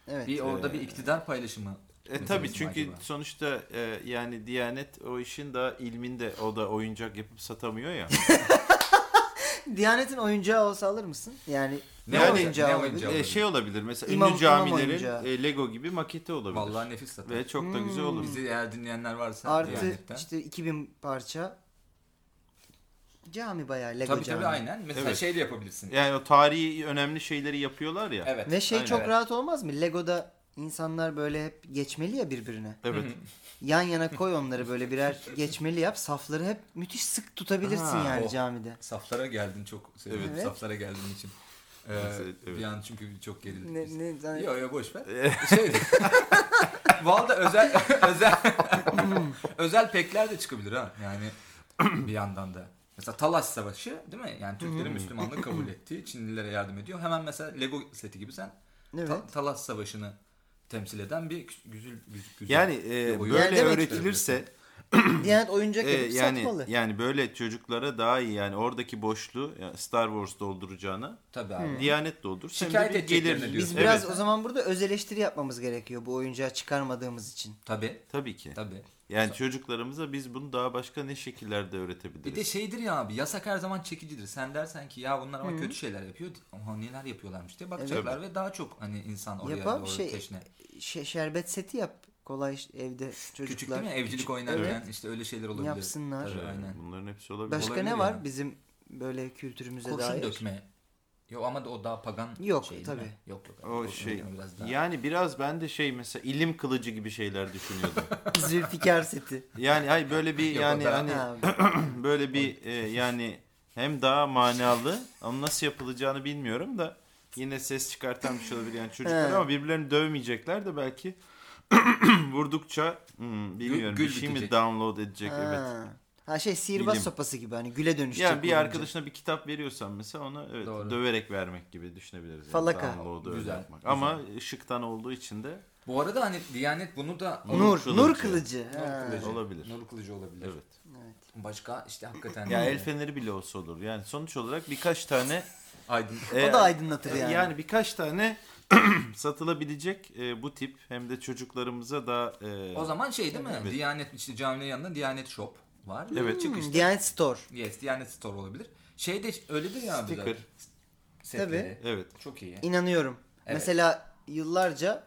[SPEAKER 2] Evet.
[SPEAKER 1] Bir orada bir iktidar paylaşımı.
[SPEAKER 3] E
[SPEAKER 1] meselesi
[SPEAKER 3] tabi
[SPEAKER 1] mi
[SPEAKER 3] çünkü
[SPEAKER 1] acaba?
[SPEAKER 3] sonuçta e, yani Diyanet o işin daha ilminde o da oyuncak yapıp satamıyor ya.
[SPEAKER 2] Diyanet'in oyuncağı olsa alır mısın? Yani
[SPEAKER 1] Ne
[SPEAKER 2] ne,
[SPEAKER 3] oyuncağı-
[SPEAKER 2] oyuncağı
[SPEAKER 1] ne
[SPEAKER 2] olabilir?
[SPEAKER 1] oyuncağı?
[SPEAKER 3] E, şey olabilir mesela
[SPEAKER 2] İmam-
[SPEAKER 3] ünlü
[SPEAKER 2] imam oyuncağı.
[SPEAKER 3] camilerin e, Lego gibi maketi olabilir.
[SPEAKER 1] vallahi nefis zaten.
[SPEAKER 3] Ve çok da güzel olur.
[SPEAKER 1] Bizi eğer dinleyenler varsa
[SPEAKER 2] Artı
[SPEAKER 1] Diyanet'ten.
[SPEAKER 2] işte 2000 parça cami bayağı Lego
[SPEAKER 1] tabii
[SPEAKER 2] cami.
[SPEAKER 1] tabii aynen. Mesela
[SPEAKER 3] Evet.
[SPEAKER 1] şey de yapabilirsin.
[SPEAKER 3] Yani o tarihi önemli şeyleri yapıyorlar ya.
[SPEAKER 1] Evet.
[SPEAKER 2] Ve şey
[SPEAKER 3] Aynen.
[SPEAKER 2] çok rahat olmaz mı? Lego'da insanlar böyle hep geçmeli ya birbirine.
[SPEAKER 3] Evet.
[SPEAKER 2] Yan yana koy onları böyle birer geçmeli yap. Safları hep müthiş sık tutabilirsin
[SPEAKER 3] Ha,
[SPEAKER 2] yani
[SPEAKER 1] o.
[SPEAKER 2] camide.
[SPEAKER 1] Saflara geldin çok seviyorum.
[SPEAKER 2] Evet.
[SPEAKER 1] Saflara geldiğin için. Ee,
[SPEAKER 3] Evet, evet.
[SPEAKER 1] Bir an çünkü çok gerildik
[SPEAKER 2] Ne,
[SPEAKER 1] biz.
[SPEAKER 2] ne, yani-
[SPEAKER 1] Yo yo boş ver. şey. Valda özel özel özel pekler de çıkabilir ha. Yani bir yandan da. Mesela Talaş Savaşı değil mi? Yani
[SPEAKER 3] Hmm.
[SPEAKER 1] Türklerin Müslümanlığı kabul ettiği Çinlilere yardım ediyor. Hemen mesela Lego seti gibi sen
[SPEAKER 2] Evet.
[SPEAKER 1] Ta- Talas Savaşı'nı temsil eden bir güz- güzel güz- güzel.
[SPEAKER 3] Yani e,
[SPEAKER 1] oyun.
[SPEAKER 2] Yani
[SPEAKER 3] böyle
[SPEAKER 2] demek-
[SPEAKER 3] öğretilirse
[SPEAKER 2] Diyanet oyuncak
[SPEAKER 3] e,
[SPEAKER 1] Ee,
[SPEAKER 2] yapıp
[SPEAKER 3] yani
[SPEAKER 2] satmalı.
[SPEAKER 3] yani böyle çocuklara daha iyi yani oradaki boşluğu yani Star Wars dolduracağına
[SPEAKER 1] tabii abi.
[SPEAKER 3] Diyanet doldurur. Hem de
[SPEAKER 1] Şikayet
[SPEAKER 3] bir
[SPEAKER 1] edeceklerini
[SPEAKER 3] gelir.
[SPEAKER 1] diyorsun.
[SPEAKER 2] Biz biraz
[SPEAKER 3] Evet.
[SPEAKER 2] o zaman burada öz eleştiri yapmamız gerekiyor bu oyuncağı çıkarmadığımız için.
[SPEAKER 1] Tabii.
[SPEAKER 3] Tabii ki.
[SPEAKER 1] Tabii.
[SPEAKER 3] Yani çocuklarımıza biz bunu daha başka ne şekillerde öğretebiliriz?
[SPEAKER 2] şey-
[SPEAKER 1] Bir de şeydir ya abi yasak her zaman çekicidir. Sen dersen ki ya bunlar ama kötü şeyler yapıyor. Aha neler yapıyorlarmış diye bakacaklar ve daha çok hani insan oraya
[SPEAKER 2] Yapar
[SPEAKER 1] doğru
[SPEAKER 2] şey-
[SPEAKER 1] teşne.
[SPEAKER 2] Şe- şerbet seti yap. Kolay iş- evde çocuklar.
[SPEAKER 1] Küçük değil mi? Evcilik
[SPEAKER 2] Küçük-
[SPEAKER 1] oynarken
[SPEAKER 2] Evet.
[SPEAKER 1] işte öyle şeyler olabilir.
[SPEAKER 2] Yapsınlar.
[SPEAKER 1] Tabii,
[SPEAKER 3] Yani
[SPEAKER 1] aynen.
[SPEAKER 3] Bunların hepsi olabilir.
[SPEAKER 2] Başka
[SPEAKER 1] Olabilir
[SPEAKER 2] ne var
[SPEAKER 1] yani.
[SPEAKER 2] bizim böyle kültürümüze
[SPEAKER 1] Kurşun
[SPEAKER 2] dair?
[SPEAKER 1] dökme. Yok ama da o daha pagan
[SPEAKER 2] Yok,
[SPEAKER 1] şey değil
[SPEAKER 2] tabii.
[SPEAKER 1] mi? Yok yok.
[SPEAKER 3] O
[SPEAKER 1] Kurşun
[SPEAKER 3] şey
[SPEAKER 1] dökme biraz daha.
[SPEAKER 3] yani biraz ben de şey mesela ilim kılıcı gibi şeyler düşünüyordum.
[SPEAKER 2] Zülfikar seti.
[SPEAKER 3] yani ay böyle bir
[SPEAKER 1] Yok, o
[SPEAKER 3] yani
[SPEAKER 1] da-
[SPEAKER 3] hani
[SPEAKER 2] Ha,
[SPEAKER 3] böyle bir e, yani hem daha manalı ama nasıl yapılacağını bilmiyorum da yine ses çıkartan bir şey olabilir yani çocuklar
[SPEAKER 2] He.
[SPEAKER 3] ama birbirlerini dövmeyecekler de belki vurdukça hmm, bilmiyorum
[SPEAKER 1] gül
[SPEAKER 3] bir şey mi
[SPEAKER 1] bitecek.
[SPEAKER 3] download edecek evet.
[SPEAKER 2] ha. Ha şey sihirbaz
[SPEAKER 3] Bilim.
[SPEAKER 2] sopası gibi hani güle dönüşecek.
[SPEAKER 3] Yani bir
[SPEAKER 2] olunca.
[SPEAKER 3] arkadaşına bir kitap veriyorsan mesela ona evet,
[SPEAKER 1] Doğru.
[SPEAKER 3] döverek vermek gibi düşünebiliriz. Yani
[SPEAKER 2] Falaka.
[SPEAKER 3] Download'u öyle
[SPEAKER 1] Güzel,
[SPEAKER 3] yapmak.
[SPEAKER 1] güzel.
[SPEAKER 3] Ama şıktan olduğu için de
[SPEAKER 1] Bu arada hani Diyanet bunu da
[SPEAKER 3] Nur
[SPEAKER 2] Nur,
[SPEAKER 3] kılıcı.
[SPEAKER 2] nur kılıcı.
[SPEAKER 1] Nur
[SPEAKER 2] Ha.
[SPEAKER 1] kılıcı.
[SPEAKER 3] Olabilir.
[SPEAKER 1] Nur kılıcı olabilir.
[SPEAKER 3] evet.
[SPEAKER 1] Başka işte hakikaten
[SPEAKER 2] Hmm.
[SPEAKER 1] hani
[SPEAKER 3] Ya el feneri bile olsa olur. Yani sonuç olarak birkaç tane
[SPEAKER 1] aydın.
[SPEAKER 2] O da
[SPEAKER 1] e,
[SPEAKER 2] aydınlatır yani.
[SPEAKER 3] yani. Ee, yani birkaç tane satılabilecek e, bu tip hem de çocuklarımıza da e,
[SPEAKER 1] O zaman şey değil mi?
[SPEAKER 3] Evet.
[SPEAKER 1] Diyanet işte caminin yanında Diyanet Shop var.
[SPEAKER 3] Evet.
[SPEAKER 2] Hmm,
[SPEAKER 1] Çıkışta.
[SPEAKER 2] Diyanet Store.
[SPEAKER 1] Yes, Diyanet Store olabilir. Şey de öyledir ya abi.
[SPEAKER 3] Sticker.
[SPEAKER 1] zaten. Setleri.
[SPEAKER 3] evet.
[SPEAKER 1] Çok iyi.
[SPEAKER 2] İnanıyorum.
[SPEAKER 1] Evet.
[SPEAKER 2] Mesela yıllarca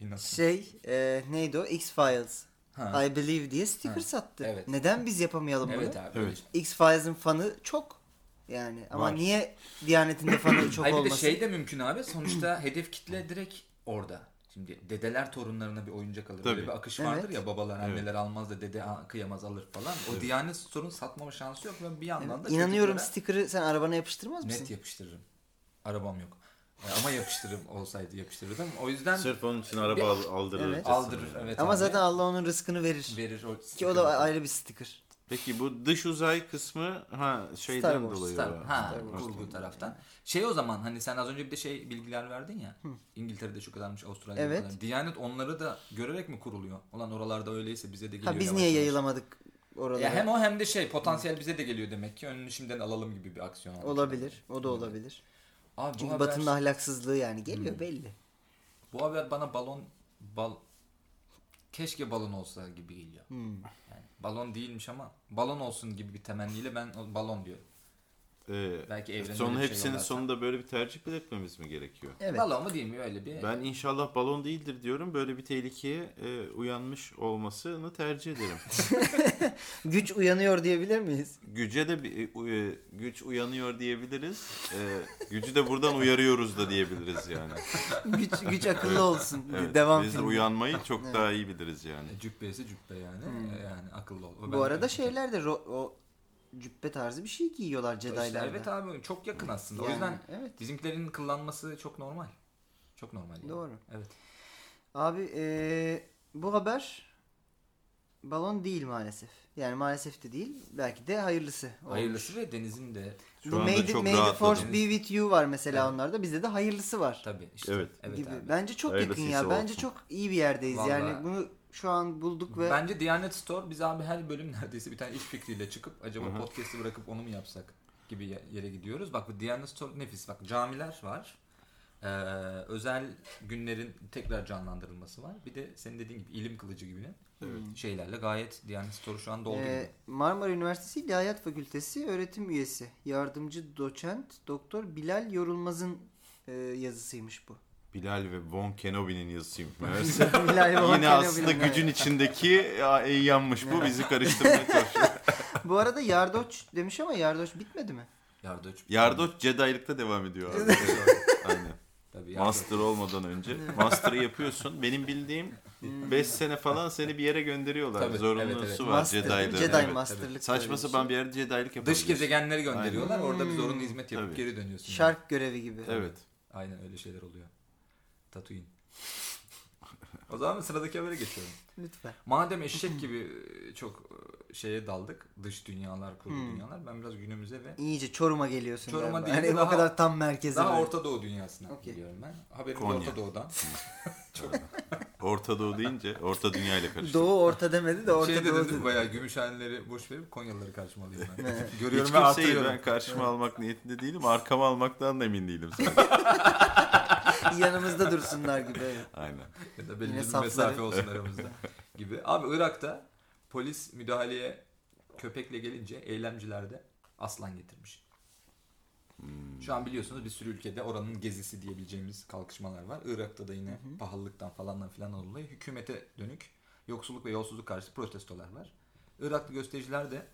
[SPEAKER 1] İnanılmaz.
[SPEAKER 2] şey e, neydi o? X-Files.
[SPEAKER 1] Ha.
[SPEAKER 2] I Believe diye sticker
[SPEAKER 1] Ha,
[SPEAKER 2] sattı.
[SPEAKER 1] evet.
[SPEAKER 2] Neden biz yapamayalım bunu?
[SPEAKER 1] Evet abi.
[SPEAKER 3] Evet.
[SPEAKER 2] X-Files'ın fanı çok yani ama
[SPEAKER 3] Var.
[SPEAKER 2] niye Diyanet'in de fanı çok
[SPEAKER 1] Hayır bir de
[SPEAKER 2] olmasın?
[SPEAKER 1] şey de mümkün abi. Sonuçta hedef kitle direkt orada. Şimdi dedeler torunlarına bir oyuncak alır. Böyle
[SPEAKER 3] Tabii.
[SPEAKER 1] bir akış vardır
[SPEAKER 2] Evet.
[SPEAKER 1] ya babalar
[SPEAKER 3] Evet.
[SPEAKER 1] anneler almaz da dede a- kıyamaz alır falan. O Diyanet Store'un satmama şansı yok ve bir yandan da
[SPEAKER 2] İnanıyorum
[SPEAKER 1] çocuklara
[SPEAKER 2] sticker'ı sen arabana yapıştırmaz mısın?
[SPEAKER 1] net yapıştırırım. Arabam yok. E, Ama yapıştırırım olsaydı yapıştırırdım. O yüzden
[SPEAKER 3] Sırf onun için araba al- aldırır.
[SPEAKER 2] Evet.
[SPEAKER 1] aldırır evet.
[SPEAKER 2] Ama
[SPEAKER 1] abi.
[SPEAKER 2] zaten Allah onun rızkını verir.
[SPEAKER 1] verir o
[SPEAKER 2] Ki o da ayrı bir sticker.
[SPEAKER 3] Peki bu dış uzay kısmı ha şeyden
[SPEAKER 2] Star Wars,
[SPEAKER 3] dolayı.
[SPEAKER 1] Star,
[SPEAKER 3] var.
[SPEAKER 1] ha,
[SPEAKER 3] Star Wars.
[SPEAKER 1] kurgu taraftan. Şey o zaman hani sen az önce bir de şey bilgiler verdin ya. İngiltere'de şu kadarmış, Avustralya'da
[SPEAKER 2] Evet.
[SPEAKER 1] bu kadar. Diyanet onları da görerek mi kuruluyor? Ulan oralarda öyleyse bize de geliyor.
[SPEAKER 2] Ha biz
[SPEAKER 1] yavaş
[SPEAKER 2] niye
[SPEAKER 1] yavaş.
[SPEAKER 2] yayılamadık oralara?
[SPEAKER 1] Ya hem o hem de şey potansiyel bize de geliyor demek ki. Önünü şimdiden alalım gibi bir aksiyon. almış.
[SPEAKER 2] Olabilir. O da olabilir.
[SPEAKER 1] Abi bu
[SPEAKER 2] Çünkü
[SPEAKER 1] haber,
[SPEAKER 2] Batı'nın ahlaksızlığı yani geliyor
[SPEAKER 1] Hmm.
[SPEAKER 2] belli.
[SPEAKER 1] bu haber bana balon bal keşke balon olsa gibi geliyor. Yani balon değilmiş ama balon olsun gibi bir temenniyle ben o- balon diyorum.
[SPEAKER 3] Ee,
[SPEAKER 1] Belki evrende
[SPEAKER 3] son
[SPEAKER 1] öyle bir şey
[SPEAKER 3] hepsinin
[SPEAKER 1] yollarsa.
[SPEAKER 3] sonunda böyle bir tercih belirtmemiz mi gerekiyor?
[SPEAKER 2] Evet.
[SPEAKER 1] Balon mu değil mi öyle bir
[SPEAKER 3] Ben inşallah balon değildir diyorum. Böyle bir tehlikeye e, uyanmış olmasını tercih ederim.
[SPEAKER 2] Güç uyanıyor diyebilir miyiz?
[SPEAKER 3] Güce de bir, e, u- e, güç uyanıyor diyebiliriz. E, gücü de buradan uyarıyoruz da diyebiliriz yani.
[SPEAKER 2] Güç güç akıllı olsun.
[SPEAKER 3] Evet,
[SPEAKER 2] Devam
[SPEAKER 3] biz de
[SPEAKER 2] filmi.
[SPEAKER 3] uyanmayı çok daha iyi biliriz yani.
[SPEAKER 1] Cübbe ise cübbe yani. Ee, Yani akıllı ol. O ben-
[SPEAKER 2] Hmm. Bu arada şey şeyler de ro- o cübbe tarzı bir şey giyiyorlar
[SPEAKER 1] İşte
[SPEAKER 2] Jedi'larda.
[SPEAKER 1] Evet abi çok yakın aslında. O
[SPEAKER 2] Yani,
[SPEAKER 1] yüzden
[SPEAKER 2] evet.
[SPEAKER 1] bizimkilerin kıllanması çok normal. Çok normal. Yani.
[SPEAKER 2] Doğru.
[SPEAKER 1] Evet.
[SPEAKER 2] Abi eee, bu haber balon değil maalesef. Yani maalesef de değil. Belki de hayırlısı. olmuş.
[SPEAKER 1] Hayırlısı ve denizin de
[SPEAKER 2] The
[SPEAKER 3] Şu anda
[SPEAKER 2] May, the-
[SPEAKER 3] çok
[SPEAKER 2] May the
[SPEAKER 3] rahatladım.
[SPEAKER 2] Force be with you var mesela onlarda. Bizde de hayırlısı var.
[SPEAKER 1] tabii işte.
[SPEAKER 3] Evet.
[SPEAKER 2] gibi.
[SPEAKER 1] abi.
[SPEAKER 2] Bence çok yakın
[SPEAKER 3] Hayırlısıysa
[SPEAKER 2] ya. Bence
[SPEAKER 3] olsun.
[SPEAKER 2] çok iyi bir yerdeyiz. Yani
[SPEAKER 1] Vallahi.
[SPEAKER 2] bunu şu an bulduk ve
[SPEAKER 1] Bence Diyanet Store biz abi her bölüm neredeyse bir tane iş fikriyle çıkıp acaba podcast'i bırakıp onu mu yapsak gibi ye- yere gidiyoruz. Bak bu Diyanet Store nefis. Bak camiler var. Ee, özel günlerin tekrar canlandırılması var. Bir de senin dediğin gibi ilim kılıcı gibi şeylerle gayet Diyanet Store şu anda olduğu
[SPEAKER 2] eee,
[SPEAKER 1] gibi.
[SPEAKER 2] Ee, Marmara Üniversitesi İlahiyat Fakültesi öğretim üyesi, yardımcı doçent Doktor Bilal Yorulmaz'ın eee, yazısıymış bu.
[SPEAKER 3] Bilal ve Von Kenobi'nin yazısıymış. Meğerse
[SPEAKER 2] Bilal Yorulmaz
[SPEAKER 3] yine aslında
[SPEAKER 2] bilen-
[SPEAKER 3] gücün içindeki ya, ey yanmış bu bizi karıştırmaya çalışıyor.
[SPEAKER 2] Bu arada Yardoç demiş ama Yardoç bitmedi mi?
[SPEAKER 1] Yardoç.
[SPEAKER 3] Yardoç Jedi'lıkta devam ediyor abi. Aynen.
[SPEAKER 1] Tabii Yardoç.
[SPEAKER 3] Master olmadan önce. Master'ı yapıyorsun. Benim bildiğim
[SPEAKER 2] Hmm.
[SPEAKER 3] 5 sene falan seni bir yere gönderiyorlar.
[SPEAKER 1] Tabii,
[SPEAKER 3] Zorunlusu
[SPEAKER 1] evet, evet.
[SPEAKER 3] var
[SPEAKER 2] Master,
[SPEAKER 3] Jedi'da.
[SPEAKER 2] Jedi
[SPEAKER 3] Evet.
[SPEAKER 2] Master'lık.
[SPEAKER 3] Saçma
[SPEAKER 2] böyle bir şey.
[SPEAKER 3] sapan bir yerde Jedi'lik yapabiliyorsun.
[SPEAKER 1] Dış gezegenleri gönderiyorlar. Orada bir zorunlu hizmet yapıp
[SPEAKER 3] Tabii.
[SPEAKER 1] geri dönüyorsun.
[SPEAKER 2] şey.
[SPEAKER 1] yani.
[SPEAKER 2] Şark görevi gibi.
[SPEAKER 3] Evet.
[SPEAKER 1] Aynen öyle şeyler oluyor. Tatooine. o zaman sıradaki habere geçiyorum.
[SPEAKER 2] Lütfen.
[SPEAKER 1] Madem eşek gibi e, çok e, şeye daldık. Dış dünyalar, kurgu dünyalar. Ben biraz günümüze ve
[SPEAKER 2] İyice Çorum'a geliyorsun.
[SPEAKER 1] Çorum'a
[SPEAKER 2] galiba.
[SPEAKER 1] değil de
[SPEAKER 2] Hani o
[SPEAKER 1] daha-
[SPEAKER 2] kadar tam merkeze.
[SPEAKER 1] daha
[SPEAKER 2] böyle.
[SPEAKER 1] Orta Doğu dünyasına
[SPEAKER 2] Okey.
[SPEAKER 1] geliyorum ben. Haberim de
[SPEAKER 3] Konya.
[SPEAKER 1] Orta Doğu'dan.
[SPEAKER 3] Orta Doğu deyince Orta Dünya ile karıştı.
[SPEAKER 2] Doğu orta demedi de Orta
[SPEAKER 1] şey de
[SPEAKER 2] Doğu
[SPEAKER 1] dedim
[SPEAKER 2] dedi.
[SPEAKER 1] bayağı gümüşhaneleri boş verip Konyalıları karşımalıyım ben.
[SPEAKER 3] Hiç
[SPEAKER 1] Görüyorum ve
[SPEAKER 3] kimseyi
[SPEAKER 1] artırıyorum.
[SPEAKER 3] ben karşıma almak niyetinde değilim. Arkama almaktan da emin değilim zaten.
[SPEAKER 2] Yanımızda dursunlar gibi. evet.
[SPEAKER 3] Aynen.
[SPEAKER 1] Ya da belli
[SPEAKER 2] Yine
[SPEAKER 1] bir
[SPEAKER 2] safları.
[SPEAKER 1] mesafe olsun aramızda gibi. Abi Irak'ta polis müdahaleye köpekle gelince eylemcilerde aslan getirmiş. Şu an biliyorsunuz bir sürü ülkede oranın gezisi diyebileceğimiz kalkışmalar var. Irak'ta da yine pahalılıktan falandan filan dolayı hükümete dönük yoksulluk ve yolsuzluk karşıtı protestolar var. Iraklı göstericiler de